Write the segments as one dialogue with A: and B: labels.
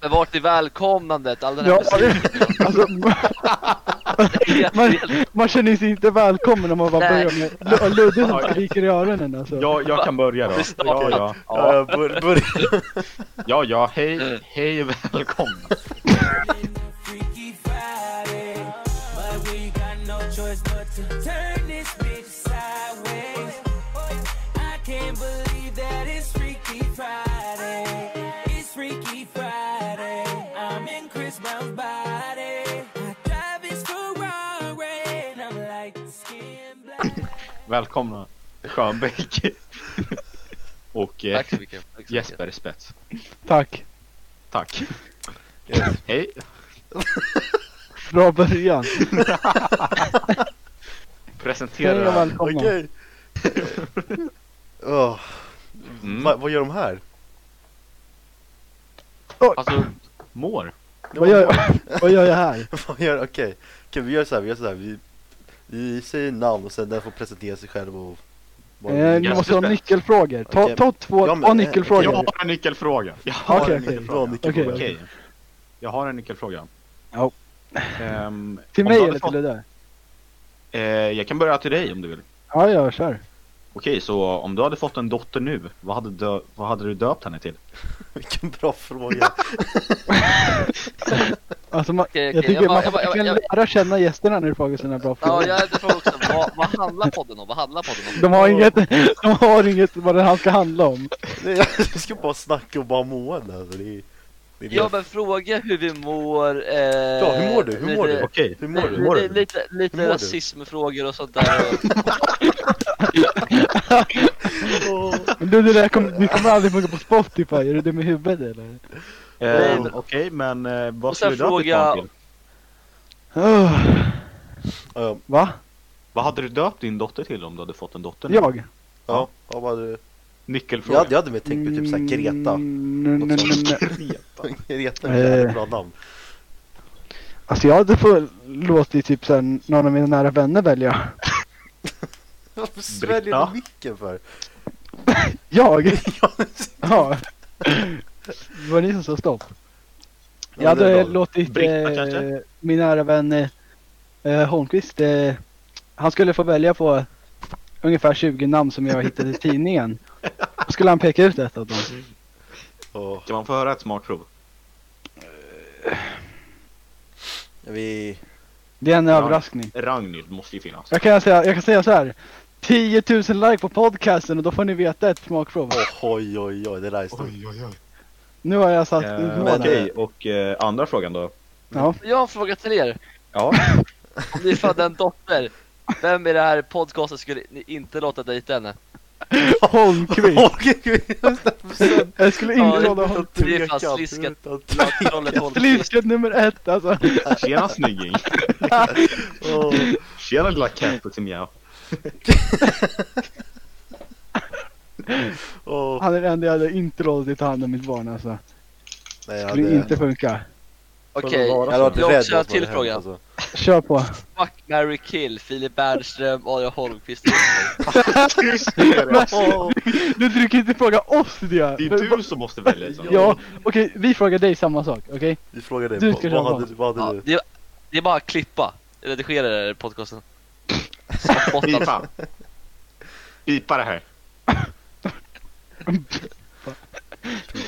A: Men vart är välkomnandet? All den här
B: Ja,
A: musiken.
B: Alltså, man, man, man känner sig inte välkommen om man bara
A: Nej.
B: börjar med Lu- Ludde som skriker i öronen alltså.
C: Ja, jag kan börja då. Ja, ja.
D: Ja, bör, bör.
C: Ja, ja, hej, hej och välkomna.
E: Freaky Friday. But we got no choice but to turn this bitch sideways. I can't believe that it's Freaky Friday. It's Freaky Friday. I'm in Chris Brown's body. I drive his Ferrari. And I'm like skin black.
C: Välkomna Schönbäck. Och eh,
A: Tack så mycket. Tack så mycket.
C: Jesper Spets.
B: Tack.
C: Tack.
D: Yes.
C: Hej.
B: Bra början. Hej och
C: Presentera.
B: välkomna.
D: Okej. Åh,
C: Mm.
D: va- vad gör de här?
C: Alltså, mår.
B: Vad, gör, vad gör jag här?
D: Vad gör, okej. Okej, vi gör så här, vi gör så här. Vi, vi säger namn och sen den får presentera sig själv och... vad vi-
B: Eh, ni
C: Yes,
B: måste ha
C: respekt.
B: nyckelfrågor. Ta,
D: Okej.
B: ta två,
D: Ja, men-
B: två nyckelfrågor.
C: Jag har en nyckelfråga. Jag har
B: Okej,
C: en
B: okej.
D: Bra,
C: nyckelfråga.
D: Micke.
B: Okej.
D: bra.
C: Okej. Jag har en nyckelfråga.
B: Ja.
C: Ehm,
B: Till
C: om
B: mig
C: du hade
B: eller till
C: fått-
B: det där?
C: Eh, jag kan börja till dig om du vill.
B: Ja, jag kör.
C: Okej, så om du hade fått en dotter nu, vad hade, dö- vad hade du döpt henne till?
D: Vilken bra fråga.
B: Alltså, man,
A: Okej, okej.
B: jag tycker
A: Jag bara-
B: man
A: jag bara- jag
B: får
A: bara- jag-
B: verkligen lära känna gästerna när du frågar sina bra frågor.
A: Ja, jag hade frågat också. Vad, vad handlar podden om? Vad handlar podden om?
B: De har inget, de har inget vad det här ska handla om.
D: Nej, jag ska bara snacka och bara mående alltså. Det är, det är
A: Ja men fråga hur vi mår. Eh,
D: Ja, hur mår du? Hur
B: Eh,
D: mår
A: lite-
D: du?
C: Okej,
D: Hur mår du?
C: mår
A: Lite,
C: du?
A: lite,
D: Hur mår
A: lite
D: du?
A: rasismfrågor och sånt där.
D: Åh.
B: Men du, det där kommer, vi kommer aldrig funka på Spotify. Är du dum i huvudet eller?
C: eh,
A: men-
C: okej, men eh, vad
A: Och sen
C: skulle du döpt ditt
A: fråga-
C: barn till?
B: Öh,
D: Ja,
B: Va?
C: Vad hade du döpt din dotter till om du hade fått en dotter nu?
B: Jag?
D: ja, vad var det? Jag
C: Nyckelfråga.
D: hade, jag hade väl tänkt mig typ såhär Greta.
B: Mm, nej,
D: Något
B: nej, nej,
D: sånt.
B: nej. Eh.
D: Greta är ett jävla bra namn.
B: Alltså jag hade fått låtit typ såhär, någon av mina nära vänner välja.
D: Varför sväljer du micken för?
B: Jag? ja. Det var ni som sa stopp. Jag
D: Ja, det är
B: hade
D: bra.
B: låtit
C: Britta,
B: eh,
C: kanske?
B: min nära vän eh, eh, Holmqvist, eh, han skulle få välja på ungefär 20 namn som jag hittade i tidningen. Då skulle han peka ut ett av dem.
D: Åh,
C: Kan man få höra ett smakprov?
D: vi...
B: Det är en
C: Ja.
B: överraskning.
C: Ragnhild måste ju finnas.
B: Jag kan, säga, jag kan säga så här. 10 000 like på podcasten och då får ni veta ett smakprov.
D: Åh, oj, oj, oj, det där är stort.
B: Nu har jag satt
C: Eh,
B: målen.
C: Okej, och eh, andra frågan då.
B: Ja.
A: Jag har en fråga till er.
C: Ja,
A: Om ni födde en dotter, vem i det här podcasten skulle ni inte låta dejta henne?
B: Holmqvist. Jag skulle inte
A: Ja,
B: råda Holmqvist.
A: Det är fan sliskat.
D: alltså.
A: Trollet Holmqvist.
B: Sliskat nummer ett alltså.
C: tjena snygging. Tjena lilla Caputinja.
D: Åh,
B: Han är den enda jag hade inte låtit ta hand om mitt barn alltså.
D: nej, jag
B: Det skulle inte funka.
A: Okej,
D: Jag hade varit
A: Jag
D: rädd
A: också har
D: vad som
A: till
D: hade
A: fråga.
D: hänt, alltså.
B: Kör på.
A: fuck, marry, kill. Filip Bernström, Adrian Holmqvist.
D: Åh,
B: Du dricker inte fråga oss det!
C: Det är du som måste välja. Liksom.
B: Ja, okej vi frågar dig samma sak, okej?
D: Vi frågar dig,
B: Du
D: vad,
B: ska
D: vad
B: köra
D: hade, du- vad
A: Ja,
D: hade du?
A: det, det är bara att klippa, redigera den här podcasten. Svart bort allt.
C: Pipa. Pipa det här.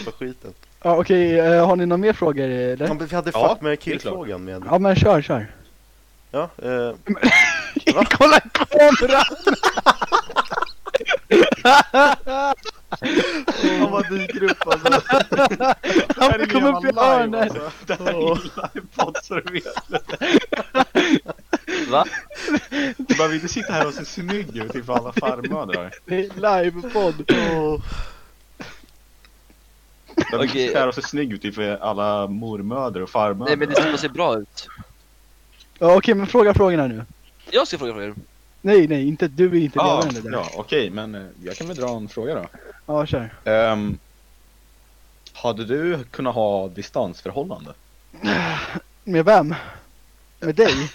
D: Vad skiten?
B: Ja okej, eh, har ni några mer frågor
D: Ja,
B: eller?
D: men vi hade
C: Ja,
D: fuck med
C: det är klart.
D: killfrågan med.
B: Ja men kör, kör.
D: Ja, eh,
B: Kolla kameran!
C: Han bara dyker upp alltså.
B: Han kom upp i hörnet!
C: Det här är livepodd så du vet.
A: Va?
C: Du behöver inte sitta här och se snygg ut inför alla farmödrar.
B: Det är livepodd.
C: Du behöver inte
A: Okej.
C: sitta här och se snygg ut inför alla mormödrar och farmödrar.
A: Nej men det ska se bra ut.
B: Ja okej men fråga frågorna nu.
A: Jag ska fråga frågor.
B: Nej nej, inte du är inte
C: Ja,
B: ledaren det där.
C: Ah, ja
B: Ja,
C: okej men eh, jag kan väl dra en fråga då.
B: kör.
C: Ehm, hade du kunnat ha distansförhållande?
B: Med vem? Med dig?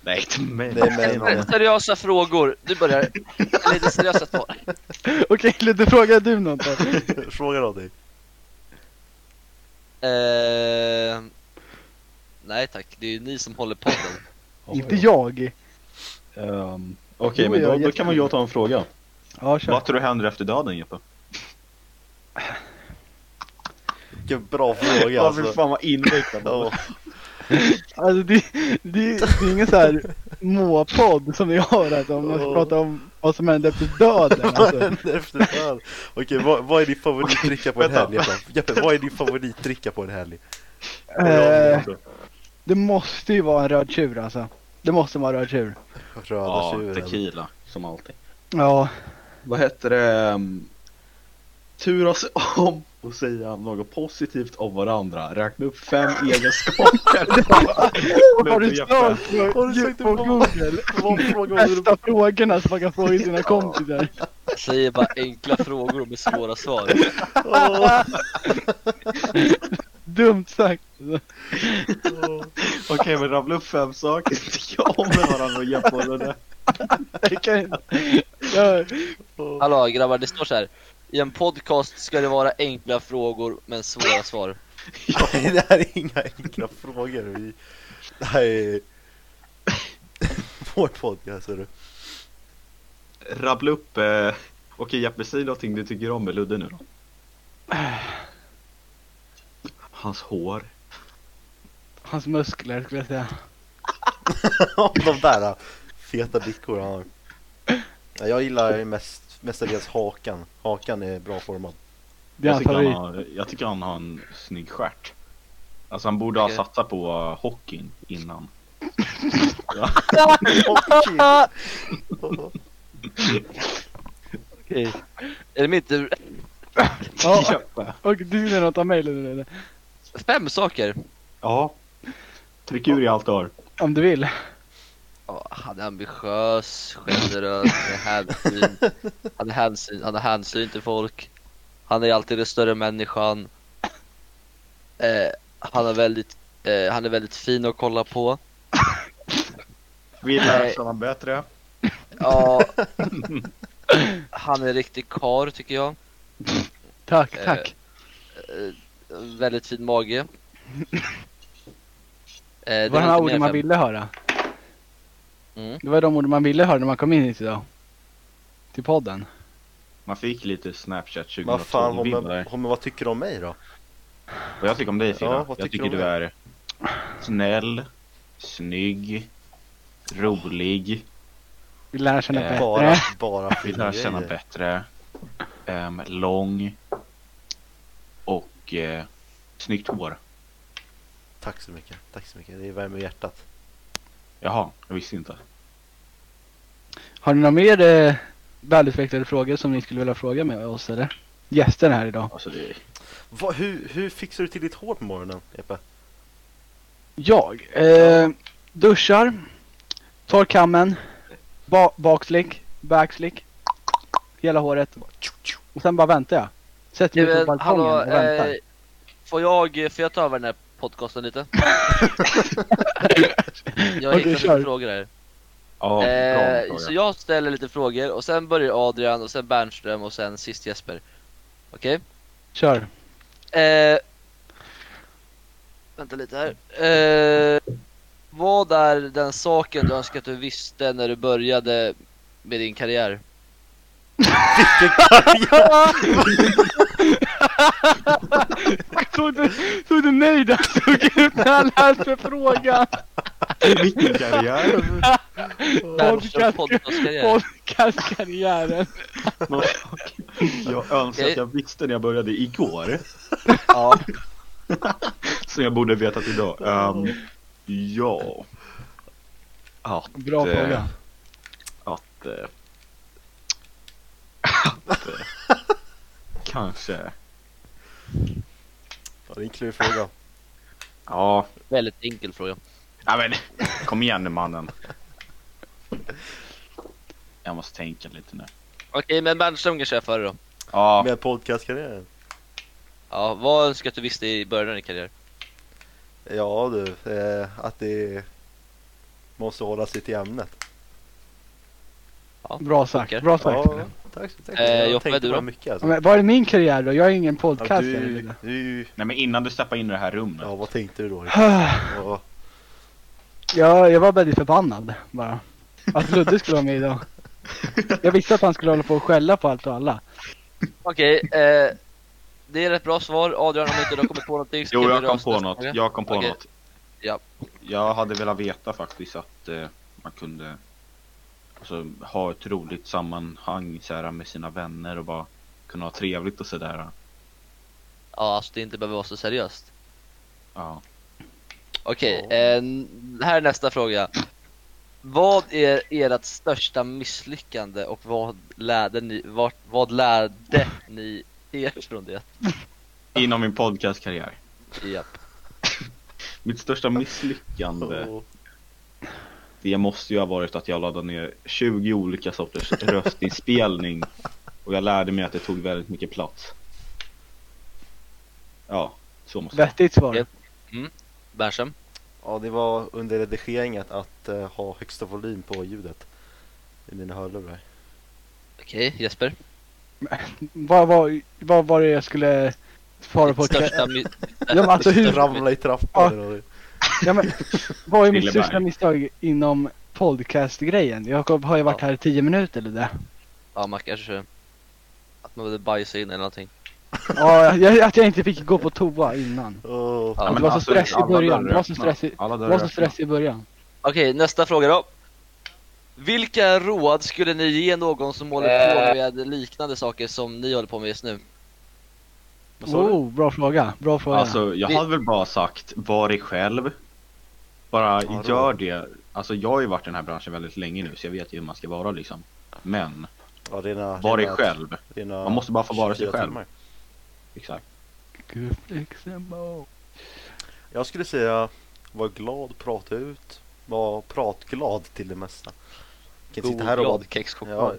C: Nej, inte mig.
D: det är mig
A: Ser-
D: mannen.
A: Seriösa frågor. Du börjar. Lite seriösa svar.
B: Okej Ludde, frågar du något då?
D: Fråga någonting.
A: Eh, nej tack, det är ju ni som håller podden.
B: Inte jag.
C: Ehm, Okej,
B: Jo,
C: men
B: jag är
C: då, då kan man ju ta en fråga.
B: Ja, kör.
C: Vad tror du händer efter döden, Jeppe?
D: Vilken bra fråga alltså.
C: fan vad invecklat.
D: Ja,
B: Alltså det, det, det är ingen så här måpodd som vi har alltså, om man ska
D: Ja.
B: prata om vad som händer efter döden.
D: Vad
B: Alltså.
D: händer efter det här? Okej, vad, vad är din favoritdricka på en
C: vänta.
D: helg? Jeppe? Jeppe, vad är din favoritdricka på en helg?
B: Eh, det måste ju vara en röd tjur alltså. Det måste vara röd tjur.
D: Röda
C: Ja,
D: tjuren.
C: tequila, som alltid.
B: Ja,
C: Vad heter det? ehm, Turas om och säga något positivt om varandra. Räkna upp fem egenskaper.
B: har du
C: Jeppe.
B: sökt på-
D: Har du sökt
B: på
D: på-
B: Google?
D: Vad frågar man
B: Bästa frågorna som man kan fråga sina kompisar.
A: Jag säger bara enkla frågor med svåra svar.
D: Åh,
B: Dumt sagt.
D: åh.
C: Okej, men rabbla upp fem saker. Tycker jag om med varandra och Jeppe och den
B: Jag kan inte. Jag,
A: Hallå grabbar, det står så här. I en podcast ska det vara enkla frågor men svåra svar.
D: Nej, det här är inga enkla frågor. Vi... Det här är... Vår podcast, är du.
C: Rabbla upp... Eh... Okej Jeppe, säg någonting du tycker om med Ludde nu då. Hans hår.
B: hans muskler skulle jag säga.
D: De där äh, feta brickor han har. Ja, Jag gillar mest, mestadels hakan. Hakan är bra formad.
B: Det är
C: Jag
B: hans
C: tycker, han
B: favorit.
C: har, jag tycker han har en snygg stjärt. Alltså han borde
A: Okej.
C: ha satsat på uh, hockeyn innan.
D: Åh,
A: Är det mitt ur-
B: Ja,
C: Jeppe.
B: och du vill något av mig eller? eller?
A: Fem saker?
C: Ja. Tryck ur i allt du har.
B: Om du vill.
A: Ja, han är ambitiös, generös, han är hänsyn. Han är hänsyn, han är hänsyn till folk. Han är alltid den större människan. Eh, han är väldigt, eh, han är väldigt fin att kolla på.
C: Vill
A: Nej.
C: känna bättre.
A: Ja. Han är riktig kar tycker jag.
B: Tack,
A: Eh,
B: tack.
A: Eh, väldigt fin mage. Eh, det
B: var
A: var
B: de här
A: inte mer
B: orden man
A: fem.
B: ville höra.
A: Mm.
B: Det var de orden man ville höra när man kom in hit idag. Till podden.
C: Man fick lite Snapchat
D: Men fan,
C: 2012
D: Homme,
C: vibbar.
D: Homme, vad tycker du om mig då?
C: Vad jag tycker om dig Frida?
D: Ja, vad
C: jag
D: tycker
C: tycker
D: du om
C: du är snäll, snygg, rolig.
B: Vill lära känna
C: Eh,
B: bättre.
D: Bara, bara
C: Vill lära känna
D: grejer.
C: bättre. ehm, lång. Och eh, snyggt hår.
D: Tack så mycket, tack så mycket. Det värmer hjärtat.
C: Jaha, jag visste inte.
B: Har ni några mer eh, välutvecklade frågor som ni skulle vilja fråga med oss eller? Gästerna här idag.
C: Alltså, det...
D: Va, hur, hur fixar du till ditt hår på morgonen, Jeppe?
B: Jag. Eh, duschar. Tar kammen. Ba- bakslick. Backslick. Hela håret. Och sen bara väntar jag. Sätter mig
A: Men,
B: på balkongen
A: Eh, hallå,
B: och väntar.
A: eh, får, jag, eh, får jag ta över den här podcasten lite? jag
B: Okej,
A: hittar
B: kör.
A: lite frågor här.
C: Ja, bra
A: eh,
C: fråga.
A: så jag ställer lite frågor och sen börjar Adrian och sen Bernström och sen sist Jesper. Okej?
B: Kör.
A: Eh, vänta lite här. Eh, vad är den saken du önskar att du visste när du började med din karriär?
B: Såg du, såg du nöjd han såg ut när han läste frågan?
C: Vilken karriär!
A: Bernströms
B: Podcast-
A: podcastkarriär.
B: Podcastkarriären.
C: Jag önskar
A: Okej.
C: att jag visste när jag började igår,
A: Ja.
C: som jag borde vetat idag. Ehm, ja. Att,
B: Bra
C: eh,
B: fråga.
C: Att... eh, att eh, kanske...
D: Ja, det är en klurig fråga.
C: Ja.
A: Väldigt enkel fråga.
C: ja men, kom igen nu mannen. Jag måste tänka lite nu.
A: Okej, men Bernström kan köra före då.
C: Ja,
D: Med podcastkarriären.
A: Ja, vad önskar att du visste i början av din karriär?
D: Ja du, eh, att det måste hålla sig till ämnet.
B: Bra sagt.
A: funkar.
B: Bra sagt.
D: Ja, tack. Tack så mycket.
A: Eh,
D: Jag
A: Joppe,
D: tänkte
A: du
D: på
A: då?
D: det mycket alltså.
B: Men vad är min karriär då? Jag är ingen
D: Ja, du,
B: podcaster.
D: du, du,
C: Nej men innan du steppade in i det här rummet.
D: ja, vad tänkte du då? Ja,
B: jag, jag var väldigt förbannad bara. Att Ludde skulle vara med idag. Jag visste att han skulle hålla på och skälla på allt och alla.
A: Okej, eh, det är ett bra svar. Adrian, om inte du har kommit på någonting så
C: Jo,
A: kan vi
C: jag
A: röra
C: kom
A: oss
C: på
A: nästa
C: något.
A: fråga.
C: Jag kom på
A: Okej.
C: något.
A: Ja.
C: Jag hade velat veta faktiskt att eh, man kunde alltså, ha ett roligt sammanhang så här, med sina vänner och bara kunna ha trevligt och sådär.
A: Ja, alltså det inte behöver vara så seriöst.
C: Ja.
A: Okej, eh, n- här är nästa fråga. Vad är ert största misslyckande och vad lärde ni, vart, vad lärde ni er från det?
C: Inom min podcastkarriär.
A: Japp.
C: Mitt största misslyckande,
B: Oh.
C: det måste ju ha varit att jag laddade ner 20 olika sorters röstinspelning. Och jag lärde mig att det tog väldigt mycket plats. Ja, så måste jag.
B: Vettigt svar.
A: Ja. Bärsem?
D: ja, det var under redigeringen att eh, ha högsta volym på ljudet i mina hörlurar.
A: Okej, Jesper?
B: Vad var, vad var det jag skulle svara på?
A: Största mi-
B: Ja, men alltså hur,
D: Ramla i
B: Ja.
D: trappan eller någonting.
B: ja, men, vad är mitt
C: Lilleberg.
B: största misstag inom podcastgrejen? Jag har ju varit här i tio minuter eller det.
A: Ja, man kanske... Att man behövde bajsa in eller någonting.
B: Ja, jag, att jag inte fick gå på toa innan.
D: Åh,
A: Ja,
B: det
A: men
B: var så
C: alltså,
B: stress i
C: alla
B: början,
C: dörrar
B: det var så
C: öppna.
B: stress i-
C: Alla
B: Det
C: dörrar
B: var så
C: öppna.
B: stress i början.
A: Okej, nästa fråga då. Vilka råd skulle ni ge någon som håller på med liknande saker som ni håller på med just nu?
C: Vad sa du?
B: Oh, bra fråga. Bra fråga.
C: Alltså jag
A: Vi-
C: hade väl bara sagt, var dig själv. Bara
D: Ja, då.
C: gör det. Alltså jag har ju varit i den här branschen väldigt länge nu så jag vet ju hur man ska vara liksom. Men,
D: ja, rena,
C: var dig
D: rena-
C: själv.
D: rena
C: Man måste bara få vara sig
D: 24
C: själv.
D: timmar.
C: Exakt.
B: Gud, exempel.
D: Jag skulle säga, var glad, prata ut. Var pratglad till det mesta. Jag kan inte sitta här och vara Ja.
A: kexchoklad.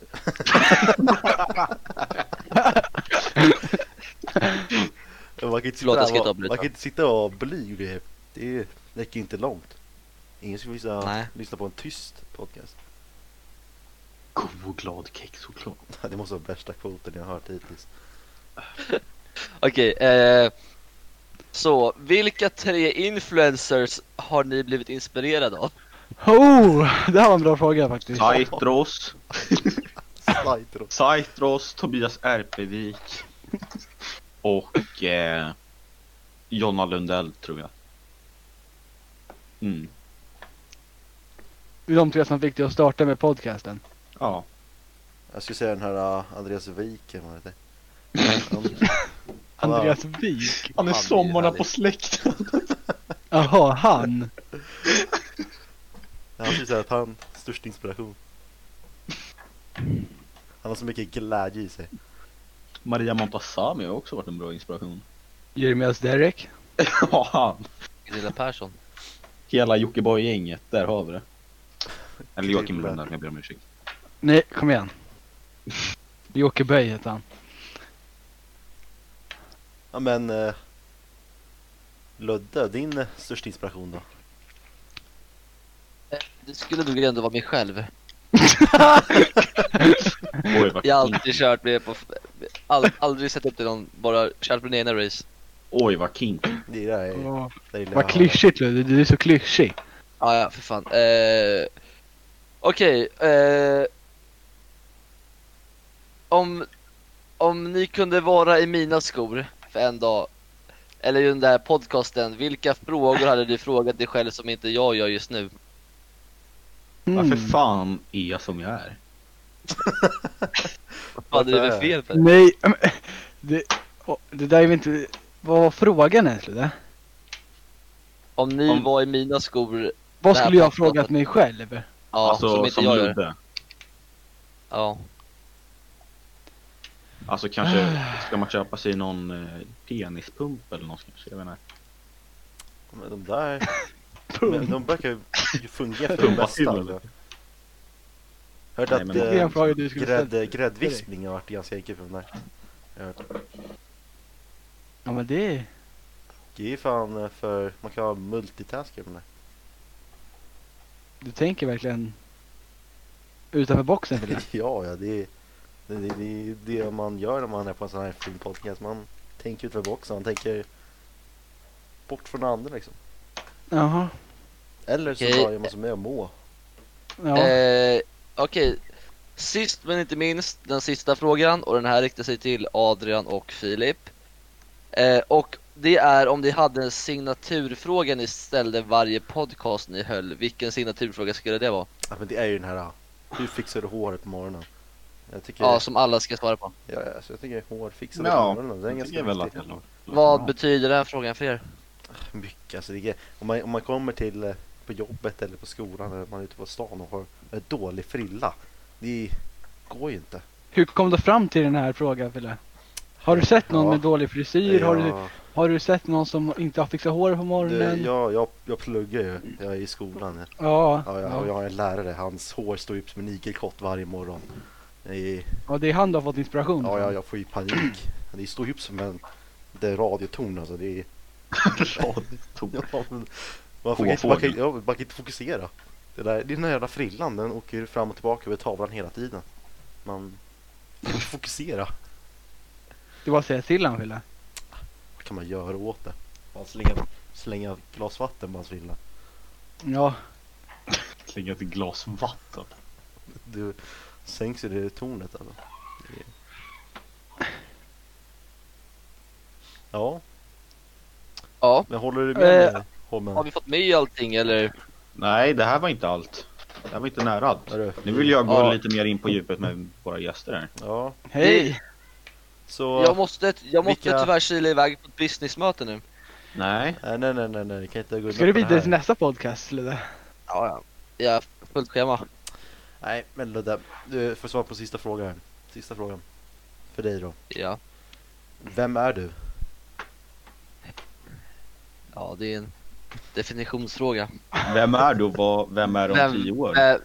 D: man, kan inte sitta
A: Förlåt, jag ska
D: här
A: inte
D: och,
A: avbryta.
D: man kan inte sitta och vara blyg. Det, det räcker ju inte långt. Ingen skulle
A: Nej.
D: lyssna, lyssna på en tyst podcast.
C: Go och glad kexchoklad.
D: Det måste vara bästa kvoten jag har hört hittills.
A: Okej, eh, så vilka tre influencers har ni blivit inspirerade av?
B: Oh, det här var en bra fråga faktiskt.
C: Saitros,
D: Slide då.
C: Saitros, Tobias Erpevik och eh, Jonna Lundell tror jag. Mm,
B: Det är De tre som fick dig att starta med podcasten.
C: ja.
D: Jag skulle säga den här uh, Andreas Wiken, vad heter Han var-
B: Andreas Wik.
F: Han är
A: Fan,
F: sommarna
A: härligt.
F: på släkten.
B: Jaha, han.
D: Han skulle säga att han, störst inspiration. Han har så mycket glädje i sig.
C: Maria Montazami har också varit en bra inspiration.
B: Jeremias Derek.
C: Ja, han.
A: Gunilla Persson.
C: Hela Jockiboi-gänget, där har vi det. Eller Joakim Lundell, jag ber om ursäkt.
B: Nej, kom igen. Jocke Böj heter han.
D: Ja men eh, Ludde, din eh, största inspiration då?
A: Eh, Det skulle nog ändå vara mig själv.
C: Oj, vad
A: Jag har alltid kört med på... All, aldrig sett upp till någon, bara kört på egna race.
C: Oj vad kink.
A: Mm.
D: Det där är, det
B: Åh,
D: där gillar jag
B: Vad
D: att
B: klyschigt Ludde, du är så klyschig.
A: Ah, ja, för fan. Eh, Okej, eh, om, om ni kunde vara i mina skor för en dag, eller i den där podcasten, vilka frågor hade du frågat dig själv som inte jag gör just nu?
B: Mm.
C: Varför fan är jag som jag är?
A: Vad hade du
D: Varför
A: för
D: är
A: fel för?
B: Nej, men, det, åh, det där är väl inte... Vad var frågan ens Ludde?
A: Om ni
C: Om-
A: var i mina skor,
B: Vad
A: Det här
B: skulle jag ha
A: podcasten.
B: frågat mig själv?
A: ja,
C: alltså
A: som
C: som,
A: inte jag gör.
C: Ludde.
A: Ja.
C: Alltså kanske, ska man köpa sig någon eh, penispump eller något kanske? Jag vet inte.
D: höra. Men de där, men de verkar ju fungera för det
C: Pumpa
D: mesta.
C: till,
D: alltså.
C: eller?
D: Hörde
C: Nej,
D: att
C: men-
B: Det är en
D: eh,
B: fråga du skulle
D: grädd,
B: ställa.
D: eh, gräddvispning har varit ganska enkel för mig. Jag har hört.
B: Ja men det är...
D: Det är ju fan eh, för, man kan ha multitasker med det.
B: Du tänker verkligen utanför boxen för det.
D: Ja, ja det är Det är det, det, är det man gör när man är på en sån här fin podcast. Man tänker utanför boxen, man tänker bort från andra liksom.
B: Jaha.
D: Eller så
A: Okej.
D: bara gör man som jag må.
B: Ja.
A: Eh, Okej, sist men inte minst den sista frågan och den här riktar sig till Adrian och Filip. Eh, och det är om ni hade en signaturfråga ni ställde varje podcast ni höll, vilken signaturfråga skulle det vara?
D: Ja, men det är ju den här, ah, hur fixar du håret på morgonen? Jag tycker,
A: Ja, som alla ska svara på.
D: ja, alltså, jag tycker hårfixar på
C: Ja,
D: morgonen, det är
C: jag
D: ganska
C: tycker väl att
D: viktigt.
C: jag låter
A: Vad
C: bra.
A: betyder den här frågan för er?
D: Mycket, alltså det är, om, man, om man kommer till eh, på jobbet eller på skolan eller man är ute på stan och har en dålig frilla. Det går ju inte.
B: Hur kom du fram till den här frågan Fille? Har du sett någon
D: Ja.
B: med dålig frisyr? Har, du,
D: Jag-
B: har du sett någon som inte har fixat hår på
D: Du,
B: morgonen?
D: jag, jag, jag pluggar ju, jag är i skolan.
B: Ja,
D: Ja, jag,
B: ja.
D: och jag har en lärare, hans hår står upp som en igelkott varje morgon. I,
B: ja, det är han du har fått inspiration
D: ja, jag,
B: från.
D: jag får ju panik. Det står upp som en det är radiotorn alltså. Det är,
C: Radiotor.
D: ja, men man, får inte, man, kan, ja, man kan inte fokusera. Det, där, det är den där jävla frillan, den åker ju fram och tillbaka över tavlan hela tiden. Man man får fokusera.
B: Det var att säga till han Fille.
D: Vad kan man göra åt det? Bara slänga, slänga glas vatten på hans frilla.
B: Ja,
C: Klinga ett glas vatten.
D: Du sänks ju det tornet alltså. Det- Ja,
A: Ja,
D: men håller du med
B: Eh,
D: mig
A: har
D: Holmen?
A: vi fått med allting eller?
C: Nej, det här var inte allt. Det här var inte nära allt.
D: Hörru,
C: Nu vill jag gå
A: Ja.
C: lite mer in på djupet med våra gäster här.
D: Ja,
B: hej!
D: så...
A: Jag måste, jag måste
D: Vilka-
A: tyvärr kila iväg på ett businessmöte nu.
C: Nej,
D: Nej, nej, nej, nej, nej, det kan inte gå
B: Ska du
D: undan på det
B: vidare
D: här.
B: till nästa podcast eller?
A: Ja, ja. Jag har fullt schema.
D: Nej, men det där. Du får svara på sista frågan. här. Sista frågan. För dig då.
A: Ja.
D: Vem är du?
A: ja, det är en definitionsfråga.
C: vem är du och vad, vem är du om
A: Vem-
C: tio år?
A: Eh,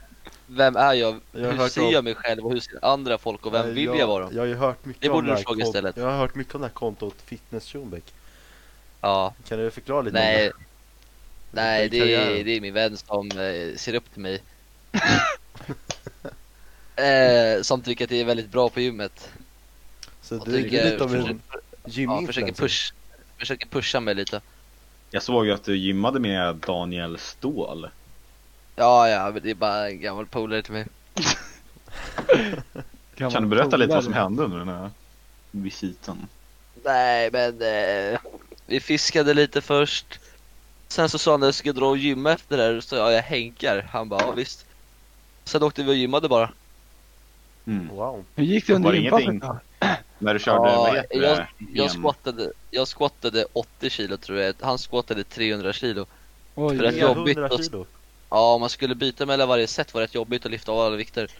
A: vem är jag?
D: Jag har
A: hur
D: hört
A: ser
D: om-
A: jag mig själv och hur ser andra folk och vem
D: Nej,
A: vill jag, vara?
D: Jag har ju hört mycket
A: Det
D: om
A: borde
D: det
A: du
D: här
A: fråga
D: kon-
A: istället.
D: Jag har hört mycket om det här kontot Fitness Schumbeck.
A: Ja,
D: Kan du förklara lite om
A: nej.
D: det?
A: Nej,
D: Vilken
A: det
D: karriär?
A: är, det är min vän som eh, ser upp till mig. eh, som tycker att jag är väldigt bra på gymmet.
D: Så
A: Och
D: du är
A: tycker-
D: lite av en
A: försöker- ja, försöker,
D: gyminfluencer.
A: push, försöker pusha mig lite.
C: Jag såg ju att du gymmade med Daniel Ståhl.
A: Ja, ja, men det är bara en gammal polare till mig.
C: Kan du berätta lite vad som hände under den här visiten?
A: Nej, men eh, vi fiskade lite först. Sen så sa han att jag ska dra och gymma efter det här, så ja, jag hänkar. Han bara, ja visst. Sen åkte vi och gymmade bara.
C: Mm.
D: Wow.
B: Hur gick det under
C: Var det
B: gympasset
C: ingenting?
B: då?
C: När du körde,
A: Ja,
C: vad heter
A: jag-
C: det?
A: Jag
C: Gen-
A: squattade, jag squattade 80 kilo tror jag, han squattade 300 kilo.
B: Oj,
A: För att jag- jobbigt
D: 300
A: att-
D: kilo.
A: Ja, om man skulle byta mellan varje set var det rätt jobbigt att lyfta av alla vikter.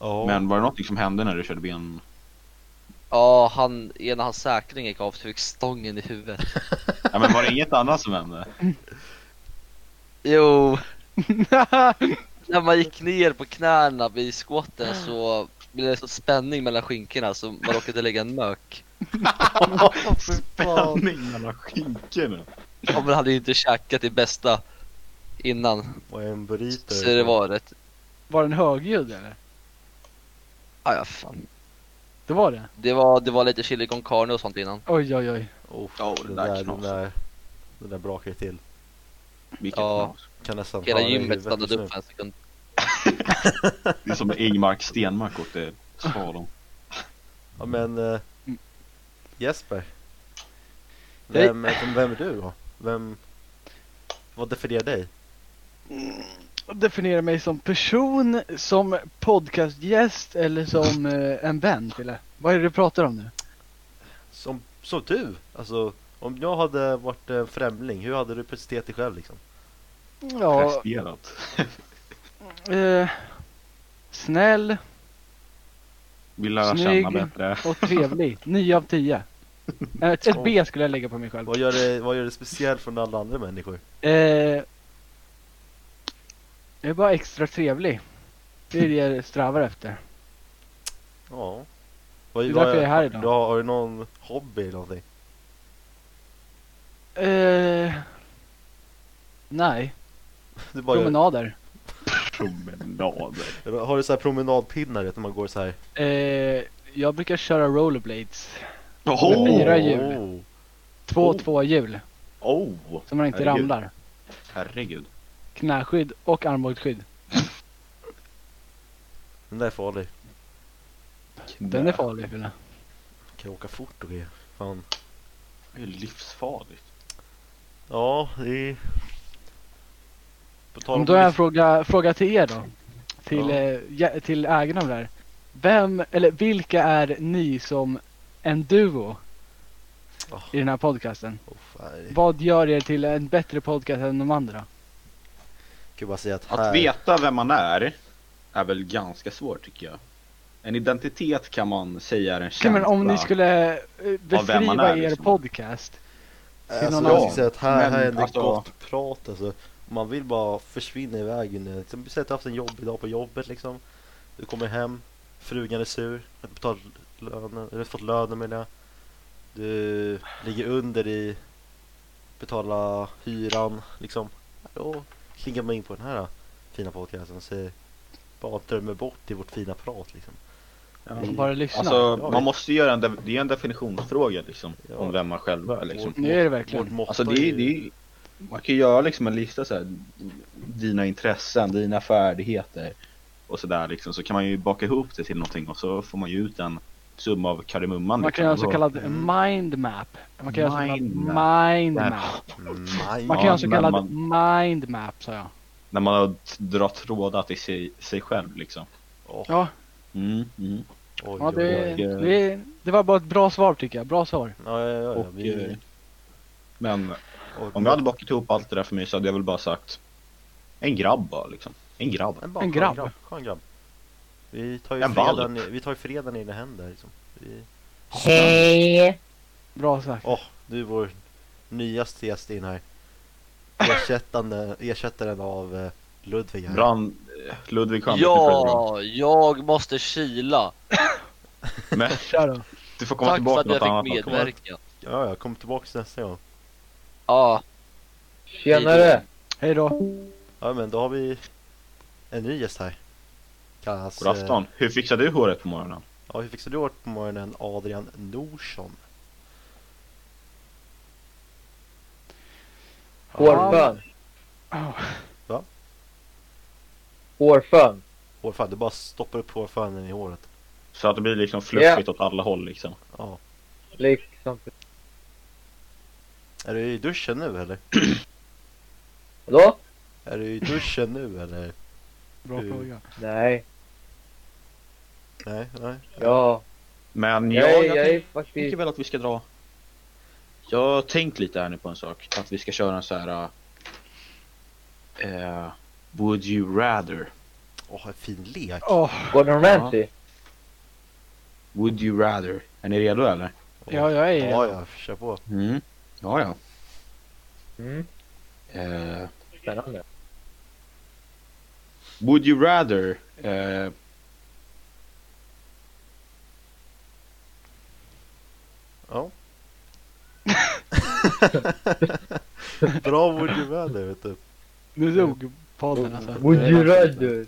D: Ja.
C: Men var det någonting som hände när du körde ben?
A: Ja, han, ena hans säkring gick av så fick stången i huvudet.
C: Ja, men var det inget annat som hände?
A: Jo, när man gick ner på knäna vid squatten så blev det så spänning mellan skinkorna så man råkade lägga en mök.
C: Spänning mellan skinkorna.
A: Ja, men hade ju inte käkat det bästa innan.
D: Och en burrito.
A: Så det var rätt,
B: Var den högljudd eller?
A: ah, ja fan.
B: Det var det?
A: Det var, det var lite chili con carne och sånt innan.
B: Oj, oj, oj.
D: Oh,
C: Ja,
D: det
C: det där
D: där, det
C: knaset.
D: där, det där brakar ju till.
C: Vilket
A: Ja.
C: knas.
D: Kan nästan
A: Hela
D: höra i
A: gymmet
D: huvudet
A: stannade
D: just nu.
A: upp för en sekund.
C: Det är som Ingmark Stenmark åkte slalom.
D: Ja men eh,
B: Mm.
D: Jesper
B: Hej.
D: vem, vem, vem är du då? Vem Vad definierar dig?
B: Definiera mig som person, som podcastgäst eller som eh, en vän Fille. Vad är det du pratar om nu?
D: Som, som du! Alltså om jag hade varit en främling, hur hade du presenterat dig själv liksom?
B: Ja,
C: Presterat.
B: eh, snäll
C: Vill lära
B: Snygg.
C: känna bättre.
B: och trevlig. 9 av 10. Ett, ett B skulle jag lägga på mig själv.
D: Vad gör det, vad gör det speciellt från alla andra människor?
B: Eh, jag är bara extra trevlig. Det är det jag strävar efter.
D: Ja vad,
B: Det är därför jag är här idag.
D: Du har, har du någon hobby eller någonting?
B: Eh, nej, Eh,
D: Du bara gör,
B: promenader.
C: Promenader.
D: Eller Har du så här promenadpinnar vet, när man går så här?
B: Eh, jag brukar köra rollerblades.
C: Oh!
B: Fyra hjul.
D: Oh.
B: Två
C: Oh.
B: tvåhjul
C: Oh!
B: så man inte
C: Herregud.
B: ramlar.
C: Herregud.
B: Knäskydd och armbågsskydd.
D: Den där är farlig.
B: Den är farlig Fille.
D: Kan jag åka fort och grejer. Fan.
C: Det är livsfarligt.
D: Ja, det är... På tal
B: Men
D: om...
B: Då har jag en fråga, fråga till er då. Till,
D: Ja.
B: eh, jä- till ägarna av det här. Vem, eller vilka är ni som en duo
D: Ah.
B: i den här podcasten?
D: Åh, oh, fan.
B: Vad gör er till en bättre podcast än de andra?
D: Kan bara säga att här...
C: Att veta vem man är är väl ganska svårt tycker jag. En identitet kan man säga är en
B: Ja,
C: känsla.
B: men om ni skulle eh,
C: vem man
B: beskriva
C: är,
B: er
C: liksom.
B: podcast.
D: Alltså,
B: någon
D: jag
B: annan.
D: skulle säga att här,
C: Men,
D: här är det
C: alltså-
D: gott prat alltså. Man vill bara försvinna iväg. in i- Liksom, säg att du har haft en jobbig dag på jobbet liksom. Du kommer hem, frugan är sur, har inte betalat lönen, eller fått lönen menar jag. Du ligger under i betala hyran liksom. Då klingar man in på den här då, fina podcasten och säger bara drömmer bort i vårt fina prat liksom.
B: Bara lyssna.
C: Alltså,
D: Ja,
C: man måste göra en, de- det är en definitionsfråga liksom,
D: Ja.
C: om vem man själv är liksom.
D: Vårt
B: Nu är det
D: mot-
B: verkligen.
D: Vårt motto
C: Alltså det är, det är, man kan ju göra liksom en lista så här, dina intressen, dina färdigheter och sådär liksom, så kan man ju baka ihop det till någonting och så får man ju ut en summa av kardemumman.
B: Man
C: liksom.
B: kan göra en så kallad
D: Mm.
B: mindmap. Man kan göra en så
C: Mindmap.
B: kallad mindmap.
D: Mm, Nej,
B: Man kan alltså-
C: Ja,
B: göra en så
C: men
B: kallad
C: man-
B: mindmap sa jag.
C: När man har t- drar trådar till sig, sig själv liksom.
D: åh,
B: Ja,
C: Mm, mm.
D: oj,
B: ja det,
D: oj, oj.
B: det, det var bara ett bra svar tycker jag. Bra svar.
D: Ja, ja, ja, ja,
C: Och,
D: vi-
C: eh, Men
D: oj,
C: om jag hade bakat ihop allt det där för mig så hade jag väl bara sagt en grabb bara liksom. En grabb.
D: En, barn,
B: En
D: skön
B: grabb.
D: Skön grabb. Vi tar ju
C: En
D: fredagen, i- vi tar ju fredagen i egna händer liksom. Vi...
B: Bra sagt.
D: Åh, du är vår nyaste gäst in här. Ersättande, ersättaren av eh, Ludvig här.
C: Brand, eh, Ludvig Sjöberg.
A: Ja, jag måste kila.
C: Men
B: Kör då.
C: du får komma
A: Tack för
C: tillbaka
A: att
C: något
A: jag
C: annat.
A: fick
C: Kommer-
A: medverka.
D: Ja, ja, kom tillbaks nästa gång.
A: Ja,
G: Tjenare!
B: Hej då.
D: Ja, men då har vi en ny gäst här. Kallas...
C: God afton. Hur fixar du håret på morgonen?
D: Eh, ja, hur fixar du hårt på morgonen? Adrian Norsson.
G: Hårfön!
B: Ja.
D: Va?
G: Hårfön!
D: Hårfön, du bara stoppar upp hårfönen i håret.
C: Så att det blir liksom fluffigt åt alla håll liksom.
D: Ja.
G: Liksom.
D: Är du i duschen nu eller?
G: Vadå?
D: Är du i duschen nu eller?
B: Bra
D: Mm.
B: fråga.
G: Nej.
D: Nej, nej.
G: Ja.
C: Men jag,
G: Jag,
C: jag,
G: är- jag är
C: tänker
G: faktiskt...
C: väl att vi ska dra. Jag har tänkt lite här nu på en sak. Att vi ska köra en så här. eh, would you rather?
D: Åh, en fin lek.
B: Åh,
G: Gordon Ramsay?
C: Would you rather? Är ni redo eller?
B: ja, jag är
D: Ja,
B: ja,
D: ja, kör på.
C: Mm. Ja, ja.
G: Mm.
C: Eh,
G: Spännande.
C: would you rather? eh,
D: Ja. Bra Would You Rather, vet du.
B: Nu dog podden alltså.
G: Would you rather?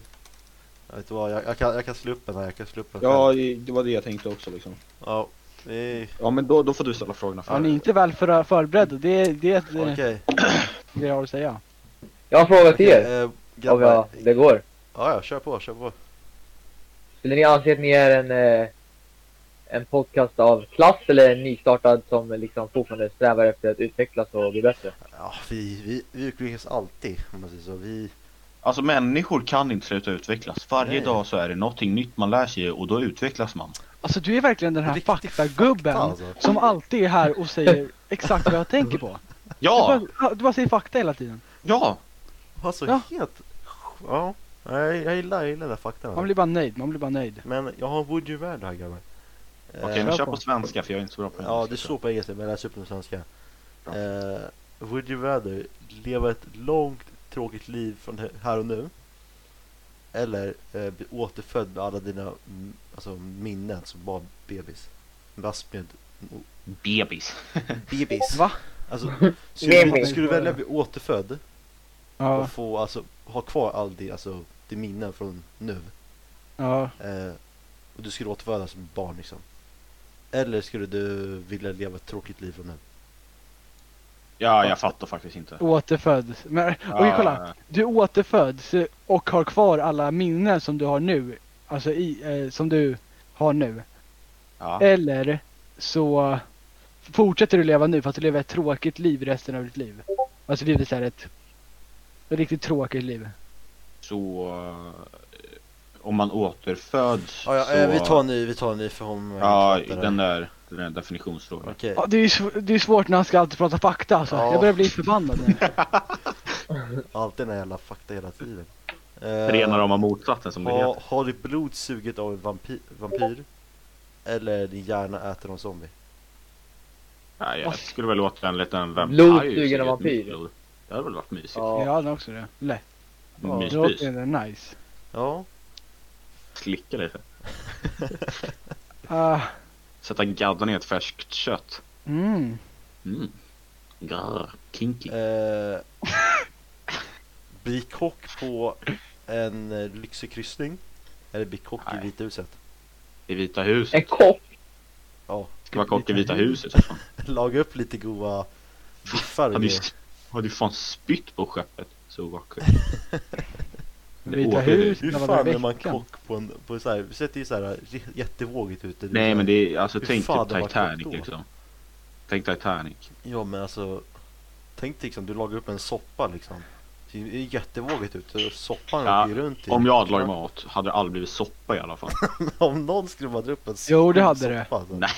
D: Jag vet du vad, jag, jag, kan, jag kan slå upp den här, jag kan slå upp den
C: ja,
D: själv.
C: det var det jag tänkte också liksom.
D: ja. vi-
C: Ja, men då, då får du ställa frågorna
B: Ja,
C: för.
B: ni är inte väl för, förberedda. Det är det, är-
D: Okej.
B: det, jag har att säga.
G: Jag har en fråga till
D: Okej,
G: er.
D: eh,
G: Om
D: grabbar.
G: jag, det går.
D: Ja, ja, kör på, kör på.
G: Skulle ni anse att ni är en, eh, en podcast av klass eller en nystartad som liksom fortfarande strävar efter att utvecklas och bli bättre?
D: Ja, vi, vi, vi utvecklas alltid, om man säger så. Vi,
C: Alltså människor kan inte sluta utvecklas. Varje
D: Nej.
C: dag så är det någonting nytt man lär sig och då utvecklas man.
B: Alltså du är verkligen den här
D: Riktig
B: faktagubben
D: fakta, alltså.
B: som alltid är här och säger exakt vad jag tänker på.
C: Ja!
B: Du, bara, du bara säger fakta hela tiden.
C: Ja!
D: alltså
B: Ja.
D: helt... Ja, jag, jag gillar, jag gillar den här faktan.
B: Man blir bara nöjd, man blir bara nöjd.
D: Men jag har en Would You Rather här, grabbar.
C: Okej,
D: Eh,
C: men
B: kör
C: kör
B: på.
C: på svenska för jag är inte så bra på
D: Ja,
C: engelska.
D: det står på engelska, men jag läser upp den på svenska. Eh, would you rather leva ett långt tråkigt liv från hä- här och nu? Eller eh, bli återfödd med alla dina mm, alltså, minnen som barn, bebis? Fast med
C: Bebis.
D: bebis.
B: Va?
D: Alltså, skulle, du,
G: Bebis.
D: skulle du välja att bli återfödd
B: Ja.
D: och få, alltså, ha kvar all din, alltså, till minnen från nu.
B: Ja,
D: Eh, och du skulle återfödas som barn liksom. Eller skulle du vilja leva ett tråkigt liv från nu?
C: Ja, jag fattar faktiskt inte.
B: återföds. Men okej, kolla. Du återföds eh, och har kvar alla minnen som du har nu. Alltså i, eh, som du har nu.
C: Ja,
D: Eh.
C: ja.
B: Eller så fortsätter du leva nu fast du lever ett tråkigt liv resten av ditt liv. Alltså du lever så här ett, ett riktigt tråkigt liv.
C: Så... eh, Om man återföds
D: Ja, ja,
C: så...
D: eh, vi tar en ny, vi tar en ny för hon
C: Ja, den där, den där definitionsfrågan.
D: Okej.
B: Ja, det, är ju sv- det är svårt när han ska alltid prata fakta alltså.
D: Ja.
B: Jag börjar bli förbannad nu.
D: Alltid den här jävla fakta hela tiden.
C: Rena rama motsatsen som det
D: ha,
C: heter.
D: har ditt blod sugit av en vampyr, vampyr? Eller din hjärna äter av zombie?
C: Nej, jag skulle väl låta en liten vampyr.
G: Blod
C: suga
G: sugen
C: ett
G: av vampyr.
C: mitt blod. Det hade väl varit mysigt.
G: Ja.
B: Jag hade också det. Lätt.
D: Ja.
B: Det
C: Myspys.
B: låter ju nice.
D: Ja,
C: Slicka lite.
B: Ah,
C: Sätta gaddan i ett färskt kött.
B: mm.
C: Mm. Grr, kinky.
D: Eh, bli kock på en eh, lyxig kryssning. Eller bli kock
C: Nej.
D: i Vita huset.
C: I Vita huset.
G: En kock?
C: Ska vara kock i Vita huset.
D: Laga upp lite goda biffar.
C: Har
D: och
C: du,
D: grejer.
C: har du fan spytt på skeppet? Så vackert.
B: Vita
C: åker
B: huset.
D: Hur
B: när man
D: fan
B: var i
D: är man
B: veckan.
D: kock på en... På så här, vi sätter ju så här j- jättevågigt ute.
C: Nej men det är, alltså
D: Hur
C: tänk
D: fan
C: typ
D: hade det varit
C: Titanic
D: gott då?
C: liksom. Tänk Titanic.
D: Ja men alltså. Tänk dig liksom, du lagar upp en soppa liksom. Det är ju jättevågigt ute och soppan
C: Ja,
D: åker ju runt i.
C: Om jag hade lagat mat hade det aldrig blivit soppa i alla fall.
D: Om någon skulle dra upp en s-
B: Jo, det hade det.
D: soppa, alltså.
C: Nej!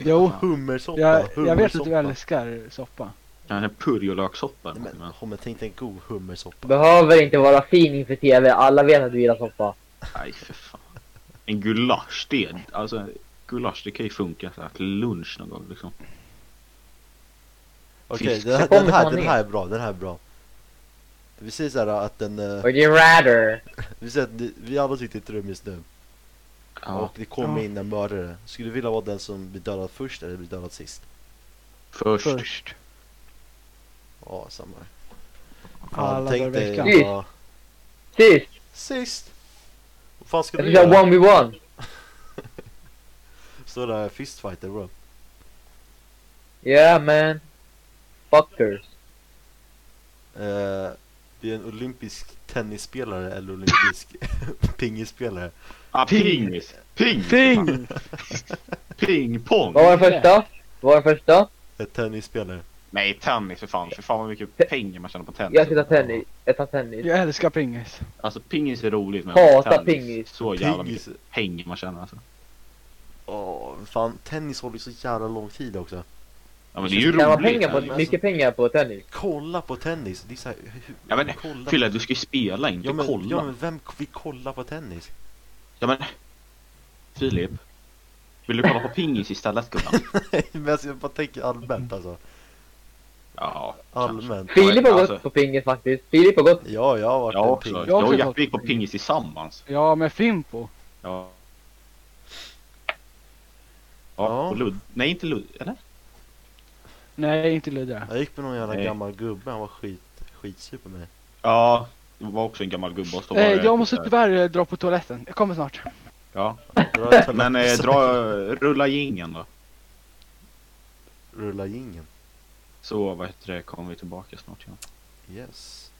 B: Jo,
D: Hummersoppa,
B: jag, jag vet att
D: hummersoppa.
B: du älskar soppa.
C: Kanske purjolökssoppa eller
D: Nej, men,
C: någonting, men...
D: Homme, tänk dig en god hummersoppa.
G: Behöver inte vara fin inför TV, alla vet att du gillar soppa.
C: Nej för fan. En gulasch det, alltså gulasch det kan ju funka så här till lunch någon gång liksom.
D: Okej,
C: Fisk.
D: den, här-
G: Kommer
D: den, här,
G: fan
D: den
G: ner.
D: här är bra, den här är bra. Vi säger så här att den, eh,
G: Would you rather?
D: vi säger att ni- vi alla sitter i ett rum just nu och det kommer in en mördare. Skulle du vilja vara den som blir dödad först eller blir dödad sist?
C: Först.
B: Först.
D: Ja, samma. Fan,
B: Alla dagar i
D: tänk dig
B: veckan.
D: att vara
G: Sist!
D: sist! Vad fan ska
G: Jag
D: du
G: ska
D: göra?
G: köra 1v1.
D: Stå där fistfighter bro. Eh,
G: Yeah man. Fuckers.
D: Eh, det är en olympisk tennisspelare eller olympisk pingisspelare.
C: Ah, pingis! Ping!
B: Ting!
C: Pingpong!
G: Vad var den första? Vad var den första?
D: En tennisspelare.
C: Nej tennis för fan, för fan vad mycket pengar man tjänar på tennis.
G: Jag ska ta tennis. Jag tar tennis.
B: Jag älskar pingis.
C: Alltså pingis är roligt men
G: Hata
C: tennis,
G: pingis.
C: Så jävla mycket
D: Pingis.
C: pengar man tjänar alltså.
D: Åh, fan tennis håller ju så jävla lång tid också.
C: Ja men det är ju
G: Kan man
C: roligt. alltså.
G: pengar
C: men-
G: på, mycket pengar på tennis?
D: Kolla på tennis, det är så här, hur,
C: Ja, men,
D: kolla
C: Fylla, du ska ju spela inte
D: ja, men,
C: kolla.
D: Ja men vem vill kolla på tennis?
C: Ja men Filip Vill du kolla på pingis istället gumman?
D: men alltså, jag bara tänker allmänt alltså.
C: Ja
D: Allmänt.
G: Filip har
C: Alltså-
G: gått på pingis faktiskt. Filip har gått.
D: Ja, jag har varit
C: Jag
D: en
C: också,
D: ping.
C: jag
B: Jag har också gått
C: och Jack
B: på
C: gick på
B: pingis.
C: pingis tillsammans
B: Ja, med Fimpo.
C: Ja
D: Ja.
C: Ja, och Lud... Nej inte Lud... eller?
B: Nej, inte Ludde.
D: Jag gick med någon jävla
C: Nej.
D: gammal gubbe, han var skit, skitsur på mig.
C: Ja Det var också en gammal gubbe och så var
B: Eh,
C: det
B: jag måste
C: typ där.
B: tyvärr eh, dra på toaletten. Jag kommer snart.
C: Ja
D: Dra ett talent-
C: Men eh, dra... Rulla gingen då
D: Rulla jingeln.
C: Så vad heter det, kommer vi tillbaka snart igen
D: Yes.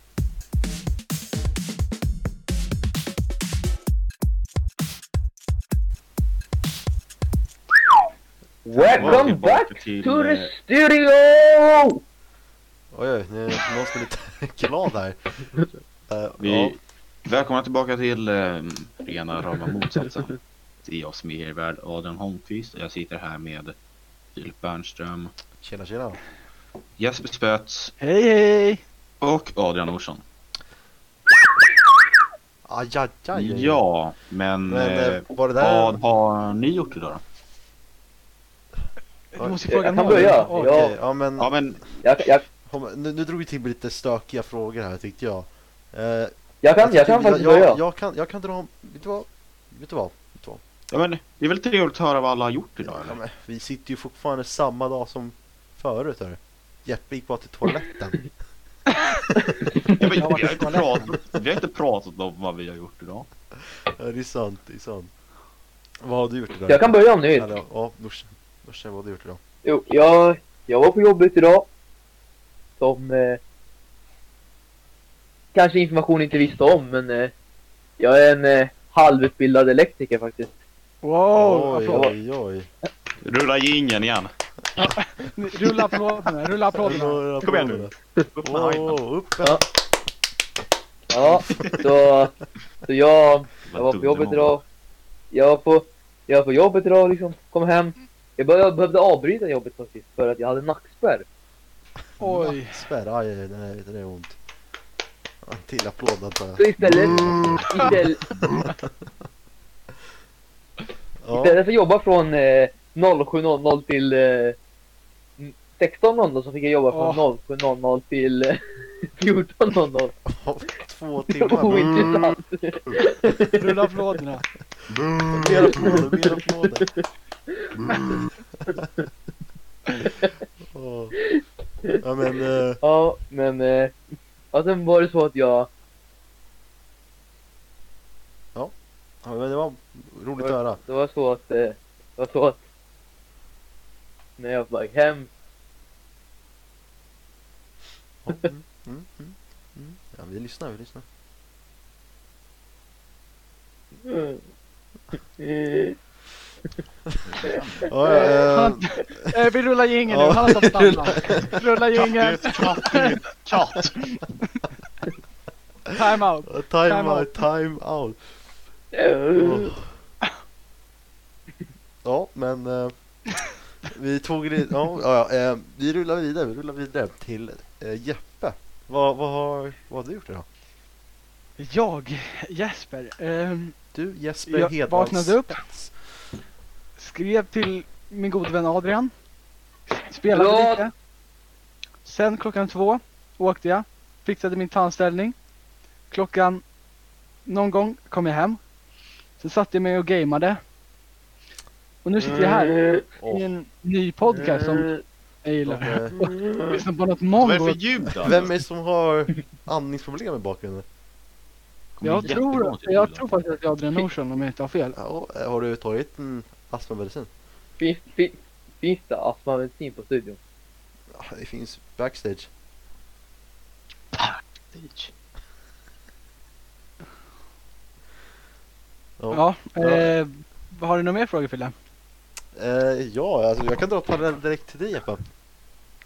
C: Var
G: Welcome
C: tillbaka
G: back
C: till,
G: to
C: eh,
G: the studio!
D: Oj, oj, nu är någon som är lite glad här. Eh,
C: Vi...
D: ja,
C: Välkomna tillbaka till eh, rena rama motsatsen Det är jag som är er värd Adrian Holmqvist och jag sitter här med Filip Bernström
D: tjena tjena.
C: Jesper Spöts
B: Hej hej!
C: och Adrian Orsson
D: Aj, aj, aj, aj.
C: Ja, men,
D: Men
C: eh,
D: eh, var det där...
C: vad har ni gjort idag då?
B: Du måste ju
G: Jag
B: fråga
G: kan börja.
B: Oj.
G: Ja.
D: Okej, ja men...
C: Ja men,
G: Jag, jag,
D: Hom- Nu, nu drog vi till med lite stökiga frågor här tyckte jag. Eh,
G: jag kan, jag kan faktiskt
D: jag, jag,
G: börja.
D: jag, kan, jag kan dra, vet du vad? Vet du vad? Vet du vad?
C: ja men, det är väl trevligt att höra vad alla har gjort idag
D: Ja,
C: eller?
D: men, vi sitter ju fortfarande samma dag som förut hörru. Jeppe gick bara till toaletten.
C: Jag vet,
B: Jag har varit i
C: vi, har inte
B: toaletten.
C: pratat, vi har inte pratat om vad vi har gjort idag.
D: Ja, det är sant, det är sant. Vad har du gjort idag?
G: Jag kan börja om ni vill.
D: Eller, ja, morsan. Morsan, vad har du gjort idag?
G: Jo, jag, jag var på jobbet idag. Som eh, kanske information inte visste om, men eh, jag är en eh, halvutbildad elektriker faktiskt.
B: Wow!
D: oj,
B: applåd.
D: oj, oj.
C: Rulla jingeln igen.
B: Rulla applåderna, rulla applåderna.
C: Kom igen nu. Upp med hajpen.
D: Wow, upp
G: Ja. Ja, så, så jag, jag
C: Vad dum
G: var på
C: du
G: jobbet
C: var.
G: idag. Jag var på, jag var på jobbet idag liksom, kom hem. Jag, bör, jag behövde avbryta jobbet faktiskt för att jag hade nackspärr.
B: Oj.
D: Spärr, aj, aj, nej, det är ont. Ja, En till applåd antar jag.
G: Så istället,
D: Mm.
G: istället,
D: Ja,
G: istället för att jobba från eh, 07.00 till eh, 16.00 så fick jag jobba från 07.00 till eh, 14.00.
D: två timmar.
G: Ointressant.
B: Rulla applåderna.
D: Mm. Mer applåder, mer applåder. Mm. Åh. Ja men, eh,
G: Ja, men eh, ja, sen var det så att jag,
D: ja, men det var roligt att höra.
G: det var så att, eh, det var så att när jag var hem
D: Ja, mm, mm, mm, mm. Ja, vi lyssnar, vi lyssnar.
G: eh,
D: Ja, ja, eh,
B: Han, eh, vi rullar jingeln nu,
D: Ja.
B: han har fått stanna. Rulla jingeln,
C: Katt ut, katt ut, katt.
B: time-out.
D: time out, time out. Åh. Ja, men eh, vi tog det, ja, ja, ja, eh, vi rullar vidare, vi rullar vidare till eh, Jeppe. Vad, vad, har, vad har du gjort idag?
B: Jag, Jesper, ehm,
D: Du Jesper
B: jag
D: Hedvalls.
B: vaknade upp, skrev till min gode vän Adrian, spelade
G: Hallå?
B: lite. Sen klockan två åkte jag, fixade min tandställning. Klockan, någon gång kom jag hem. Sen satte jag mig och gameade. Och nu sitter jag
G: Mm.
B: här i
D: Åh,
B: en ny podcast som jag gillar.
D: eh,
B: Lyssnar på något
C: Vad är det
B: mongo.
C: för ljud då?
D: Vem är det som har andningsproblem i bakgrunden?
B: Jag tror, jag tror faktiskt att jag är Adrian Norsson om jag inte har fel.
D: Ja, eh, har du tagit en astmamedicin?
G: Finns, finns, finns det astmamedicin på studion?
D: Ja, Det finns backstage.
B: Ja, eh, har du några mer frågor Fille?
D: Eh, ja, alltså, jag kan dra parallell direkt till dig Jeppe.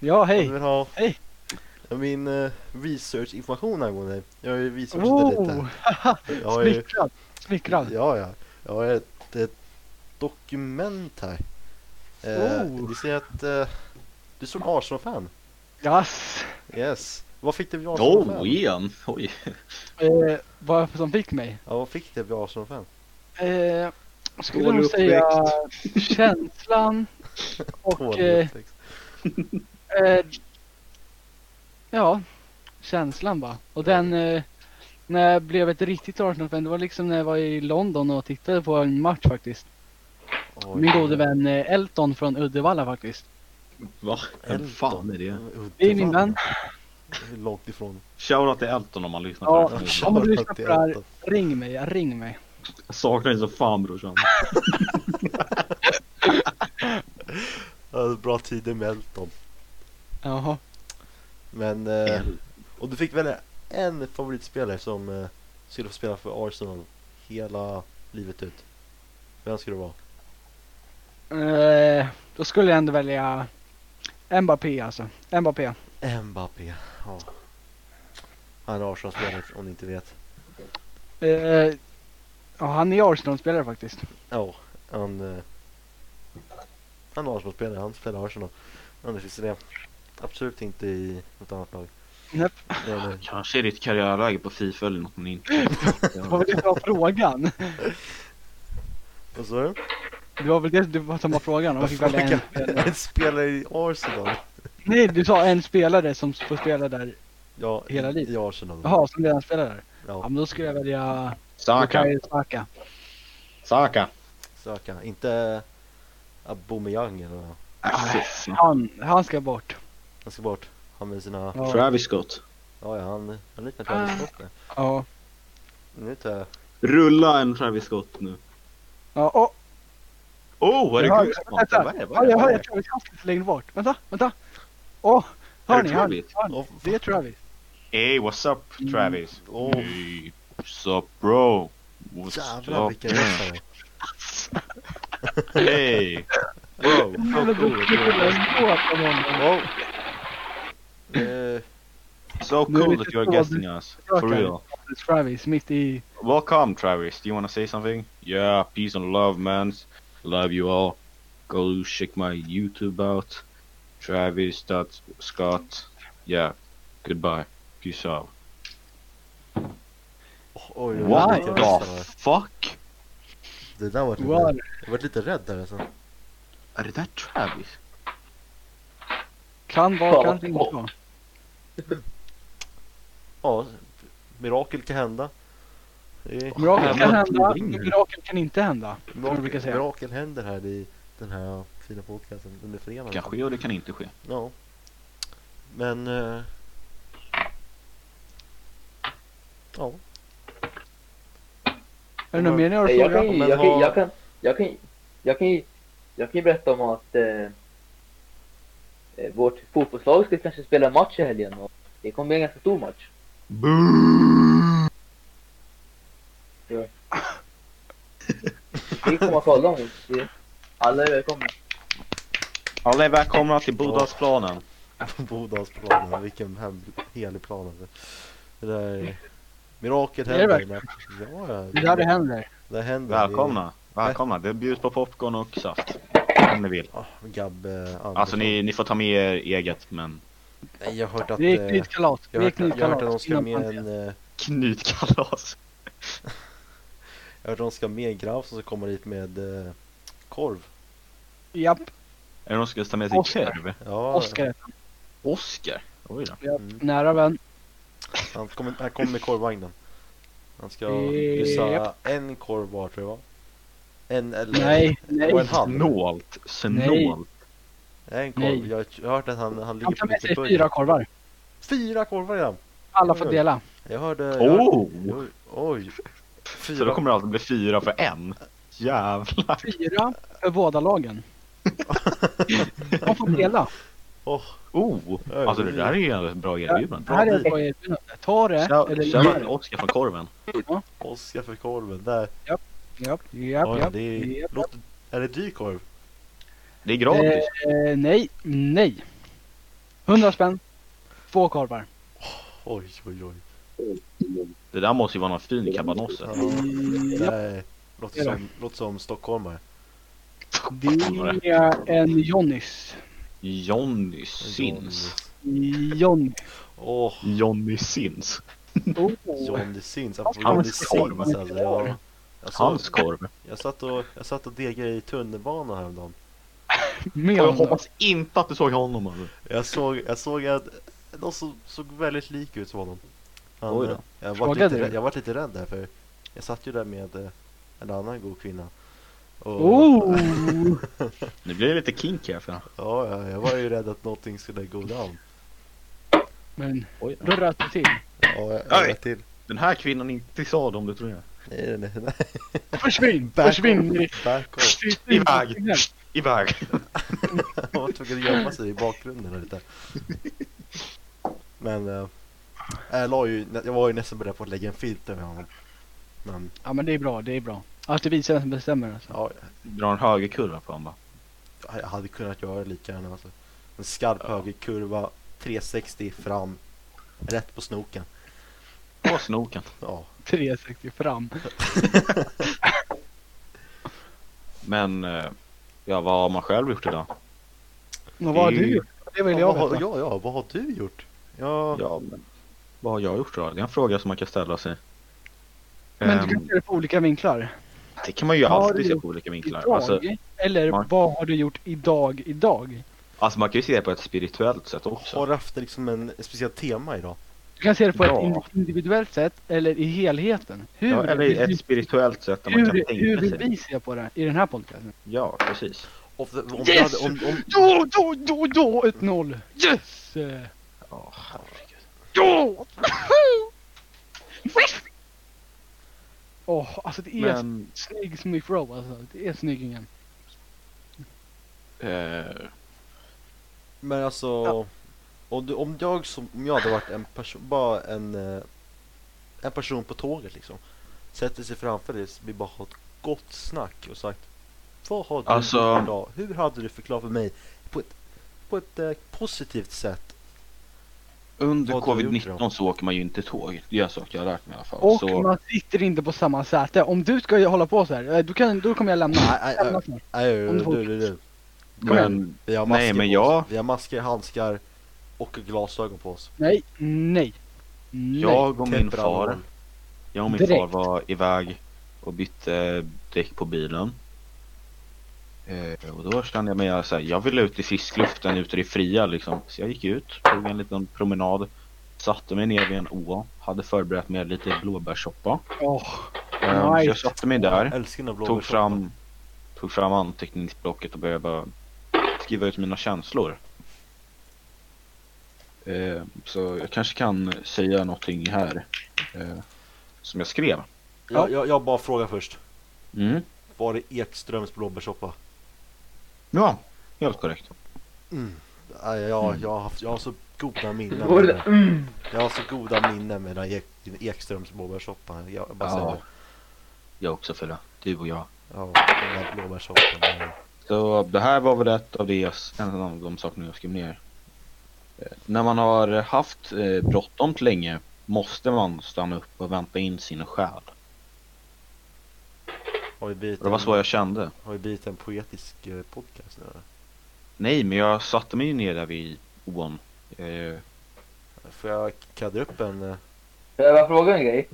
B: Ja,
D: Om du
B: hej.
D: vill ha
B: Hej.
D: min eh, research-information angående dig. Jag har ju researchat
B: Oh,
D: lite. Jag har ju,
B: smickrad. Smickrad.
D: ja, ja. Jag har ett, ett dokument här. Eh,
B: Oh.
D: Det ser att eh, du är som Arsenal-fan.
B: Yes.
D: Yes. Vad fick det vid Arsenal-fan?
C: Oh, igen. Oj.
B: Eh, vad som fick mig?
D: Ja, vad fick det vid Arsenal-fan?
B: Eh, skulle
F: Dålig
B: nog säga känslan och... Eh,
D: Hårdhet, liksom.
B: eh, ja, känslan bara. Och den... Eh, när jag blev ett riktigt Arsenal-fan, det var liksom när jag var i London och tittade på en match faktiskt.
D: Oj.
B: Min gode vän eh, Elton från Uddevalla faktiskt.
C: Va? Vem
D: Elton.
C: fan är det?
B: Det är min vän.
D: Hur Långt ifrån.
C: Shoutout till Elton om man lyssnar
B: Ja.
C: på det.
B: Om du lyssnar på det här, ring mig, ja, ring mig.
C: Jag saknar dig så fan brorsan.
D: Ja, Bra tider med Elton.
B: Jaha.
D: Men, eh, och du fick välja en favoritspelare som eh, skulle få spela för Arsenal hela livet ut. Vem skulle det vara?
B: Eh, då skulle jag ändå välja Mbappé alltså. Mbappé.
D: Mbappé. Ja. Han är Arsenal-spelare om ni inte vet.
B: Eh, ja, han är Arsenal-spelare faktiskt.
D: Ja, han... Eh, han är Arsenal-spelare, han spelar Arsenal. Ja, det finns det. Absolut inte i något annat lag. eh,
B: Näpp.
D: Nej, nej.
C: Kanske är ditt karriärläge på Fifa eller något men inte.
B: Det var väl det som var frågan?
D: Vad sa du?
B: Det var väl det det var som var frågan? Om man fick välja en spelare.
D: En spelare i Arsenal?
B: Nej, du sa en spelare som får spela där.
D: Ja,
B: Hela
D: i-
B: livet.
D: I Arsenal.
B: Jaha, som redan spelar där. Ja,
D: Ja,
B: men då skulle jag välja
C: Saka.
B: Bukayo Saka.
C: Saka.
D: söka. Inte eh, Aubameyang eller vad.
C: Äh, fy fan.
B: Han, han ska bort.
D: Han ska bort. Han med sina...
B: Ja.
C: Travis Scott.
D: Ja, ja, han, han liknar Travis Scott nu.
B: Ja.
D: Nu tar jag...
C: Rulla en Travis Scott nu.
B: Ja, åh,
C: Oh, är det
B: Jag har-
C: Goosebumps?
B: vänta.
C: Vad är det? Vad
B: ja,
C: är det?
B: jag
C: Vad
B: hör
C: är
B: jag
C: det?
B: Travis Scott lite längre bort. Vänta, vänta. Åh, hör
C: Är
B: ni?
C: det
B: Hör ni?
C: Travis?
B: Hör ni?
D: Åh,
B: Det är Travis.
C: Hey, what's up Travis? Oh.
D: Åh.
C: Hey, what's up bro? What's
D: Jävlar
C: up?
D: vilken röstare.
C: Hey!
D: Wow,
B: Jag
D: så
B: vill
D: cool.
B: inte gå på honom.
D: Wow. Eh,
C: So
B: Nu är
C: cool
B: det
C: that you're
B: så
C: guesting us. For
B: Okay.
C: real.
B: Travis mitt i...
C: Welcome Travis. Do you wanna say something? Yeah, peace and love man. Love you all. Go check my YouTube out. Travis dot Scott. Yeah. Goodbye. Peace out.
D: oj, oj, oj,
C: What
D: vilken
B: the
C: the
D: röstare.
C: fuck?
D: Det där var
B: Wow.
D: lite... Jag vart lite rädd där alltså.
C: Är det där Travis?
B: Kan vara, kan inte
G: Åh.
B: vara.
D: Ja, mirakel kan hända. Det är-
B: Mirakel kan
C: Jävlar,
B: hända,
C: det ringer.
B: mirakel kan inte hända. Som man brukar
D: Mirakel,
B: säga.
D: mirakel händer här i den här fina podcasten under fredagen.
C: Det kan ske och det kan inte ske.
D: Ja. Men... eh, Ja.
B: Är det något mer ni har att
G: Jag kan,
B: fråga?
G: ju-
D: men
G: jag, kan,
D: har-
G: jag, kan, jag, kan, jag, kan, ju- jag kan ju berätta om att eh, eh, vårt fotbollslag ska kanske spela en match i helgen. Och det kommer bli en ganska stor match. Ja. Vi kommer att kolla om det. Alla är välkomna.
C: Alla är välkomna till Bodalsplanen.
D: Bodalsplanen, vilken hem, helig plan alltså. Det där är... Mirakel
B: Det är
D: händer.
B: verkligen.
D: men- Ja, ja.
B: Det är där det händer.
D: Det händer.
C: Välkomna. Välkomna. Det bjuds på popcorn och saft. Om ni vill.
D: Det är- Ah, Gabbe Andersson.
C: Alltså ni, ni får ta med er eget men
D: Nej, jag har hört att...
B: Det är
D: eh,
B: knytkalas. Det
D: jag har
B: är
D: hört, jag har hört att de
B: knytkalas.
D: ska ha
B: Innan
D: med en...
B: parentes.
D: eh,
C: knytkalas.
D: Jag har hört att de ska ha med en grabb som ska komma dit med eh, korv.
B: Japp,
C: Eller de ska ta med sig
B: Oscar.
C: korv.
D: Ja,
B: Oscar.
C: Oscar? Oj då.
D: Mm.
B: Nära vän.
D: Han kommer han kommer med korvvagnen. Han ska
B: Eh, Japp.
D: kryssa en korv var tror jag va? En eller...
B: Nej, nej.
D: Och en halv.
C: Snålt. Snålt.
D: Nej, en korv.
B: Nej.
D: Jag har hört att han, han ligger
B: Han tar
D: på
B: med
D: lite
B: sig
D: burger.
B: fyra korvar.
D: Fyra korvar redan!
B: Alla får dela.
D: Jag hörde... Jag hörde
C: Oh!
D: oj, oj!
C: Så
D: Fyra
C: då kommer det alltid bli fyra för en. Jävlar.
B: Fyra för båda lagen. De får dela.
D: Åh,
C: Oh! Alltså det där är ju ett bra
B: Det
C: erbjudande.
B: här är ett bra erbjudande. Ta det eller gör
C: Shoutout till
B: det.
C: Oscar från korven.
D: Oscar för korven där.
B: Japp,
D: Oj,
B: japp, japp.
D: det är,
B: japp.
D: låter, är det dyr korv?
C: Det är gratis.
B: Eh, nej, nej. 100 spänn. Två korvar.
D: Oj, oj, oj.
C: Det där måste ju vara någon fin kabanosse.
D: Ja, det där låter som, låter som stockholmare.
B: Det är en Johnnys.
C: Johnny Sins.
B: Johnny.
D: Åh,
C: Johnny Sins.
B: Oh.
D: John the Sins. Apropå
B: Hans
D: John the Sins
B: korv.
D: alltså. Jag, jag, såg,
C: Hans korv.
D: jag, satt och, jag satt och degade i tunnelbanan häromdagen.
B: Med
C: Och jag
B: honom.
C: hoppas inte att du såg honom. Alltså.
D: Jag såg, jag såg att någon som såg väldigt lik ut som honom. Han,
C: Oj då.
D: eh, Jag var
B: Frågade
D: lite,
B: du?
D: rädd- jag var lite rädd där för jag satt ju där med eh, en annan god kvinna. Och,
B: Oh!
C: Nu blir det lite kinky här. För...
D: ja, ja, jag var ju rädd att någonting skulle gå down.
B: Men
C: Oj.
B: då röt det till.
D: Ja, jag, jag
C: Oj.
D: vet till.
C: Den här kvinnan är inte sa om du tror jag.
D: Nej, nej, nej.
B: Försvinn!
D: Back
B: Försvinn!
D: off, Back off.
C: Iväg. Iväg.
D: Han var tvungen att gömma sig i bakgrunden här lite. Men eh, jag, la ju, jag var ju nästan beredd på att lägga en filt över honom. Men
B: Ja men det är bra, det är bra. Att det visar vem som bestämmer alltså.
D: ja,
C: Dra en högerkurva på honom bara.
D: jag hade kunnat göra det lika gärna. Alltså. En skarp högerkurva, 360 fram, rätt på snoken.
C: På snoken.
D: Ja,
B: 360 fram.
C: Men, eh, ja vad har man själv gjort idag?
B: Men vad har
C: Det är ju-
B: du gjort? Det vill
D: ja,
B: jag
D: vad,
B: veta.
D: ja, ja, vad har du gjort? Ja,
C: Ja, men, vad har jag gjort idag? Det är en fråga som man kan ställa sig.
B: Men
C: Ehm,
B: du kan se det på olika vinklar.
C: det kan man ju
B: Vad har
C: alltid
B: du
C: se
B: gjort
C: på olika vinklar.
B: Idag?
C: Alltså,
B: Eller
C: Ja.
B: vad har du gjort idag, idag?
C: alltså man kan ju se det på ett spirituellt sätt
D: har
C: också.
D: du haft liksom en speciell tema idag?
B: Du kan se det på ett
C: Ja.
B: indi- individuellt sätt eller i helheten. Hur,
C: Ja,
B: vill
C: eller
B: vi-
C: ett spirituellt sätt där man kan
B: hur, hur
C: tänka
B: vill
C: sig.
B: vi se på det i den här podcasten?
C: Ja, precis.
D: Om, om, om,
B: Yes!
D: om, om,
B: Då, då, då, då, 1-0! Yes! Eh,
C: Ja, herregud.
B: Åh, alltså det är
C: Men
B: snygg Smith Rowe alltså. Det är snyggingen.
C: eh,
D: Men alltså, om, du, om jag som om jag hade varit en person, bara en, eh, en person på tåget liksom, sätter sig framför dig och vill bara ha ett gott snack och sagt Vad har du
C: Alltså-
D: gjort idag? Hur hade du förklarat för mig på ett, på ett eh, positivt sätt?
C: under
D: Vad har du gjort
C: covid-19 så åker man ju inte tåg. Det är en sak jag har lärt mig i alla fall.
B: Och
C: så,
B: man sitter inte på samma säte. Om du ska ju hålla på så här, eh, du kan, då kommer jag lämna.
D: Nej,
C: Eh.
D: nej,
B: lämna
D: nej.
B: snart.
D: Nej, du,
B: Om du får-
D: du, du, du.
B: Kom igen.
C: men
D: Vi har
C: Nej,
D: masker
C: men
D: på
C: jag-
D: oss. Vi har masker, handskar och glasögon på oss.
B: Nej, nej. Nej.
C: jag och min
D: Temperalkohol.
C: far, jag och min
B: Direkt.
C: far var iväg och bytte eh, däck på bilen. Eh, och då kände jag mig så här, jag ville ut i friskluften ute i det fria liksom. Så jag gick ut, tog en liten promenad, satte mig ner vid en å, hade förberett mig lite blåbärssoppa.
B: Åh,
C: Eh,
B: Nice.
C: Så jag satte mig där.
D: Jag älskar den här
C: tog fram, tog fram anteckningsblocket och började bara skriva ut mina känslor. Eh, så jag kanske kan säga någonting här eh, som jag skrev.
D: Jag, jag, jag bara frågar först.
C: Mm.
D: Var det Ekströms blåbärssoppa?
C: Ja, helt korrekt.
D: Nej, jag,
C: Mm.
D: jag, har haft, jag har så goda minnen
G: Var
D: med
G: det-
D: det. Jag har så goda minnen med den här Ek, Ekströms blåbärssoppan. Jag bara
C: Ja.
D: säger det.
C: Jag också Fille, du och jag.
D: Ja, den här blåbärssoppan.
C: Så det här var väl ett av det, en av de sakerna jag skrev ner. Eh, När man har haft eh, bråttom till länge måste man stanna upp och vänta in sin själ.
D: Har vi blivit
C: Och det var
D: en-
C: så jag kände.
D: Har vi blivit en poetisk eh, podcast nu eller?
C: Nej, men jag satte mig ju ner där vid ån. Eh,
D: Får jag kadda upp en... eh,
G: Får jag bara fråga en grej?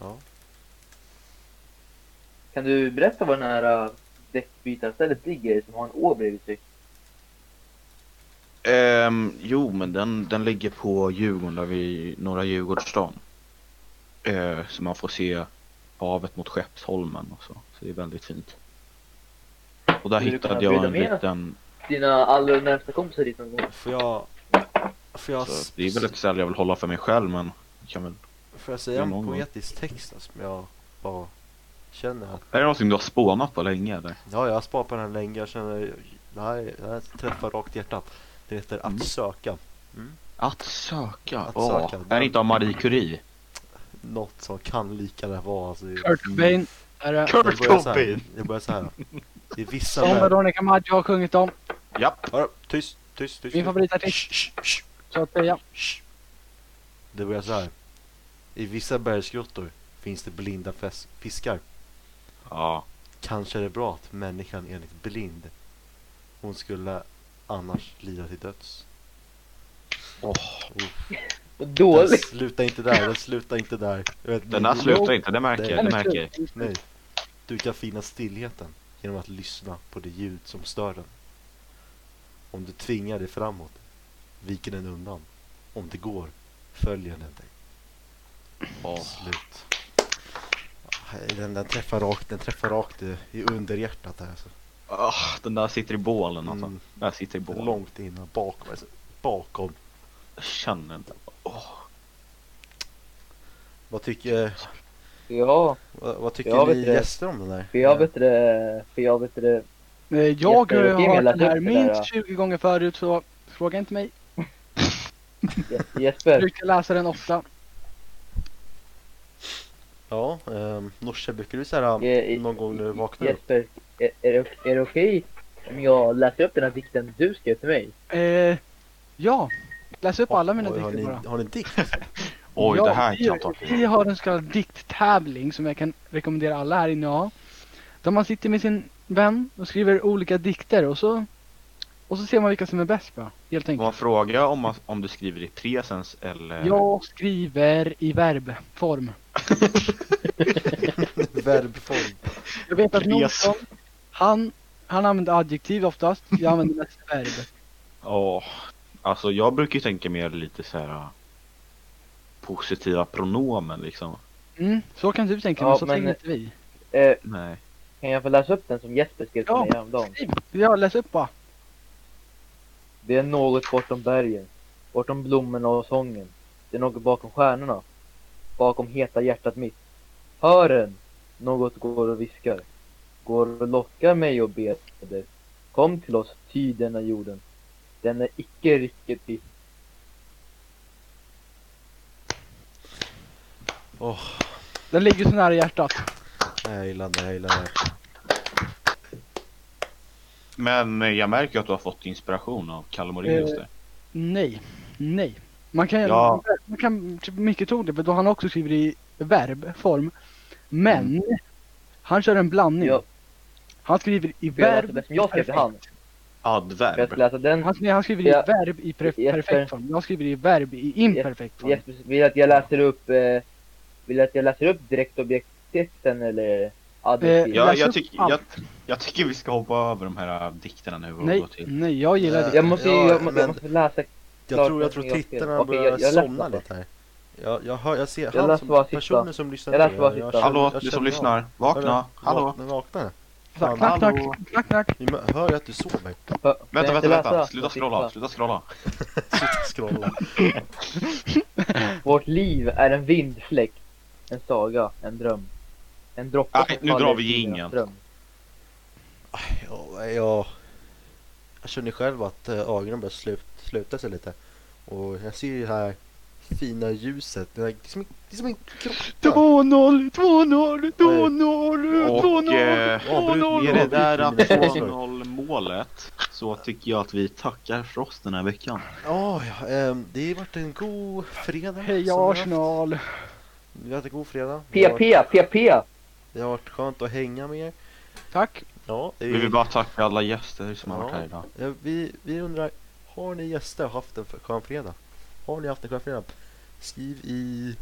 D: Ja.
G: Kan du berätta var det här äh, däckbytarstället ligger som har en å bredvid sig?
C: ehm, jo, men den, den ligger på Djurgården, där vid norra Djurgårdsstaden. Eh, så man får se havet mot Skeppsholmen och så. Så det är väldigt fint. Och där
G: Skulle du
C: hittade
G: kunna
C: jag
G: bjuda
C: en
G: med?
C: liten...
G: Dina allra närmsta kompisar dit någon gång?
D: Får jag... Får jag,
C: Så det är väl ett ställe jag vill hålla för mig själv, men jag kan väl...
D: får jag säga en
C: någon gång.
D: poetisk text då, som jag bara känner att...
C: Är det någonting du har spånat på länge eller?
D: Ja, jag har sparat på den här länge. Jag känner... Det här, det här träffar rakt i hjärtat. Det heter Att
C: Mm.
D: söka.
C: Att söka?
D: Att
C: Åh,
D: söka.
C: Är det inte av Marie Curie?
D: Något som kan lika det här vara. Alltså,
C: Mm.
D: det-
B: Kurt Cobain. Är det.
D: det börjar så här. Det börjar så här. Det är vissa
B: Som
D: män...
B: Veronica Maggio har sjungit om.
C: Japp!
D: Hörru, tyst, tyst, tyst.
B: Min favoritartist,
D: Shh, shh, shh,
B: så att säga.
D: shh. Det börjar så här. I vissa bergsgrottor finns det blinda fes- fiskar.
C: Ja.
D: Kanske är det bra att människan är lite blind. Hon skulle annars lida till döds.
G: Vad
D: Den
G: dåligt!
D: slutar inte där, den slutar inte där. Jag vet,
C: Den där
D: ni-
C: slutar inte, det märker jag. Det
D: Nej,
C: märker jag.
D: Nej. Du kan finna stillheten genom att lyssna på det ljud som stör den. Om du tvingar dig framåt, viker den undan. Om det går, följer den dig.
C: Åh.
D: Slut. Den, den träffar rakt, den träffar rakt i, i underhjärtat här alltså.
C: Ah, den där sitter i bålen alltså.
D: Mm.
C: Den där sitter i bålen.
D: Långt innan, bakom. Alltså, bakom.
C: Jag känner inte. Åh,
D: Vad tycker,
G: Ja,
D: vad, vad tycker
G: Jag vet
D: ni
G: det.
D: gäster om den där?
G: för jag vet det... För jag vet det...
B: Eh, Jag
G: Jätte-
B: eh, har
G: Emil,
B: hört
G: att
B: det här
G: du är där,
B: minst
G: ja.
B: 20 gånger förut så fråga inte mig.
G: Je-
B: Jag
G: Jesper,
B: brukar läsa den ofta.
D: Ja, ehm, Norse, brukar du säga
G: Je-
D: någon gång när du vaknar upp?
G: Jesper, är, är, det- är det okej om jag läser upp den här dikten du skrev till mig?
B: Eh, ja, läs upp alla mina
D: Oj, har
B: dikter
D: ni,
B: bara.
D: har ni en dikt?
C: Oj,
B: ja,
C: det här
B: vi-
C: kan ta tid.
B: Vi har en så kallad dikttävling som jag kan rekommendera alla här inne att ha. Där man sitter med sin vän och skriver olika dikter och så, och så ser man vilka som är bäst bara, helt
C: Får man
B: enkelt.
C: fråga om, man, om du skriver i presens eller?
B: Jag skriver i verbform.
D: Verbform.
B: Jag vet att
C: Pres.
B: Nilsson, han, han använder adjektiv oftast. Jag använder mest verb.
C: Åh, alltså jag brukar ju tänka mer lite så här äh, positiva pronomen liksom.
B: Mm, så kan du tänka,
G: Ja,
B: men så
G: men-
B: tänker inte vi.
G: Eh,
C: Nej.
G: kan jag få läsa upp den som Jesper skrev till
B: Ja.
G: mig häromdagen?
B: Skriv. Ja, läs upp bara.
G: Det är något bortom bergen, bortom blommorna och sången, Det är något bakom stjärnorna. Bakom heta hjärtat mitt. Hör den! Något går och viskar. Går och lockar mig och beder. Kom till oss, ty denna jorden. Den är icke riktigt ditt.
B: Den ligger så nära hjärtat.
D: Nej, jag gillar det, jag gillar det.
C: Men eh, jag märker ju att du har fått inspiration av Kalle Moraeus där.
B: Nej, nej. Man kan,
C: Ja.
B: man kan typ mycket tog det för då han också skriver i verbform. Men han kör en blandning.
G: Mm. Ja.
B: Han skriver i
G: För jag läste
B: verb.
G: bäst, men jag skrev till han. För jag
C: Adverb.
G: skulle läsa den.
B: Han, nej, han skriver i
G: Ja.
B: verb i pre-
G: Jesper.
B: perfekt form. Jag skriver i verb i imperfekt form.
G: Jesper vill att jag läser upp, eh, vill att jag läser upp direktobjekttexten eller adjektiv?
B: Eh,
C: Jag,
B: Läs
C: jag,
B: upp
C: tyck,
B: allt.
C: jag, jag tycker vi ska hoppa över de här eh, dikterna nu och
B: Nej,
C: gå till.
B: nej, jag gillar
D: Ja.
B: det.
G: jag måste ju,
D: ja,
G: jag, må-
D: men-
G: jag måste läsa
D: Jag
G: Klart
D: tror, jag
G: att
D: tror
G: ni har fel.
D: tittarna
G: Okej,
D: börjar
G: jag- jag läser
D: somna
G: det.
D: lite här. Jag, jag, hör, jag ser
G: Jag läser
D: som,
G: bara sista.
D: personen som lyssnar
G: Jag läser
D: ner.
G: bara sista.
C: Hallå, du
D: jag
C: som
D: känner av.
C: lyssnar. Vakna. Hallå.
D: Vakna, vakna.
B: Så här, Knack, knack,
C: Hallå.
B: knack, knack.
D: Ni mö- hör ju att du sover.
C: Vänta,
G: jag
C: vänta,
G: ska
C: vänta.
G: läsa.
C: Sluta
G: Jag ska
C: scrolla,
G: läsa.
C: sluta scrolla.
D: Sitta och scrolla.
G: Vårt liv är en vindfläkt, en saga, en dröm. En droppe
C: Nej,
G: som
C: nu
G: faller
C: drar vi
G: i
C: jingeln.
G: fingrarnas ström.
D: Ja, jag, jag känner själv att eh, ögonen börjar slut, sluta sig lite. Och jag ser ju det här fina ljuset. Det är som, en- det är som en grotta.
B: 2-0, 2-0, 2-0,
C: Och
B: 2-0.
C: eh,
D: Åh, noll,
C: med det
D: noll.
C: där
D: Noll, noll.
C: 2-0 målet så tycker jag att vi tackar för oss den här veckan.
D: Ja, ja, ehm, det har varit en god fredag.
B: Hej
D: som vi har haft.
B: Arsenal.
D: Vi har haft en god fredag. Det har, varit-
G: PP, PP!
D: det har varit skönt att hänga med er.
B: Tack.
D: Ja, det är-
C: Vi vill bara tacka alla gäster som har varit
D: Ja.
C: här idag.
D: Ja, vi, vi undrar, har ni gäster och haft en f- skön fredag? Har ni haft en skön fredag? Skriv i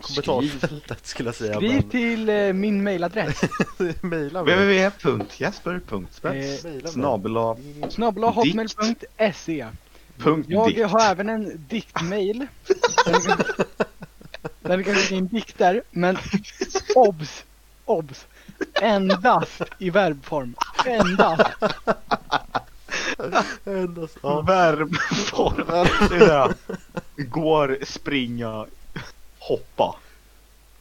D: kommentarsfältet skulle jag säga.
B: Skriv till eh, min mailadress.
D: men mejla mig.
B: Eh,
D: Mejla mig.
C: Snabel
B: Snabbla hotmail.se Jag har även en diktmail. Där ni kan- Där ni kan skicka in dikter, men obs! Obs! Endast i verbform. Endast.
D: Endast, ja.
C: Verbform. Det är det där. Går, springa, hoppa.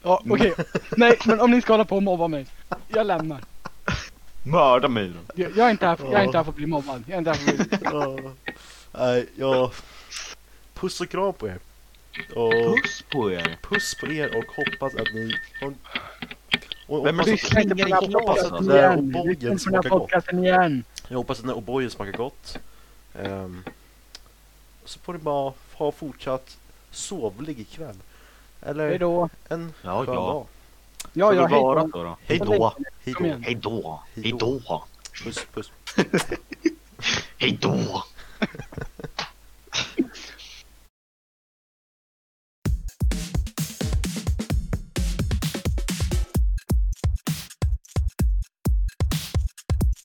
B: Ja, okej. Nej, men om ni ska hålla på och mobba mig. Jag lämnar.
C: Mörda mig då.
B: Jag jag är inte här för, jag är inte här för att bli mobbad. Jag är inte här för att bli...
D: ja. Nej, ja. Puss och kram på er. Och
C: Puss på er.
D: puss på er och hoppas att ni... Och, och,
C: Vem är
D: hoppas,
C: det-
B: Lyssna inte på den här
C: Klingar i glas,
B: podcasten
D: alltså. Där
B: igen.
D: Obojen
B: Lyssna inte på den
D: smakar
B: här
D: gott.
B: podcasten igen.
D: jag hoppas att den här O'boyen smakar gott. Ehm, så får ni bara ha fortsatt sovlig kväll. Eller
B: Hej då.
D: en
C: Ja,
D: skön
C: ja.
D: dag.
B: Ja, ja,
C: Får vi
B: hej
C: vara
B: då.
C: då då?
D: Hej
B: Kom
D: då.
B: igen.
D: Hej
B: Kom
D: då.
B: igen.
C: Hej då.
D: Hej
C: Hej då.
D: Puss, puss.
C: Hej då.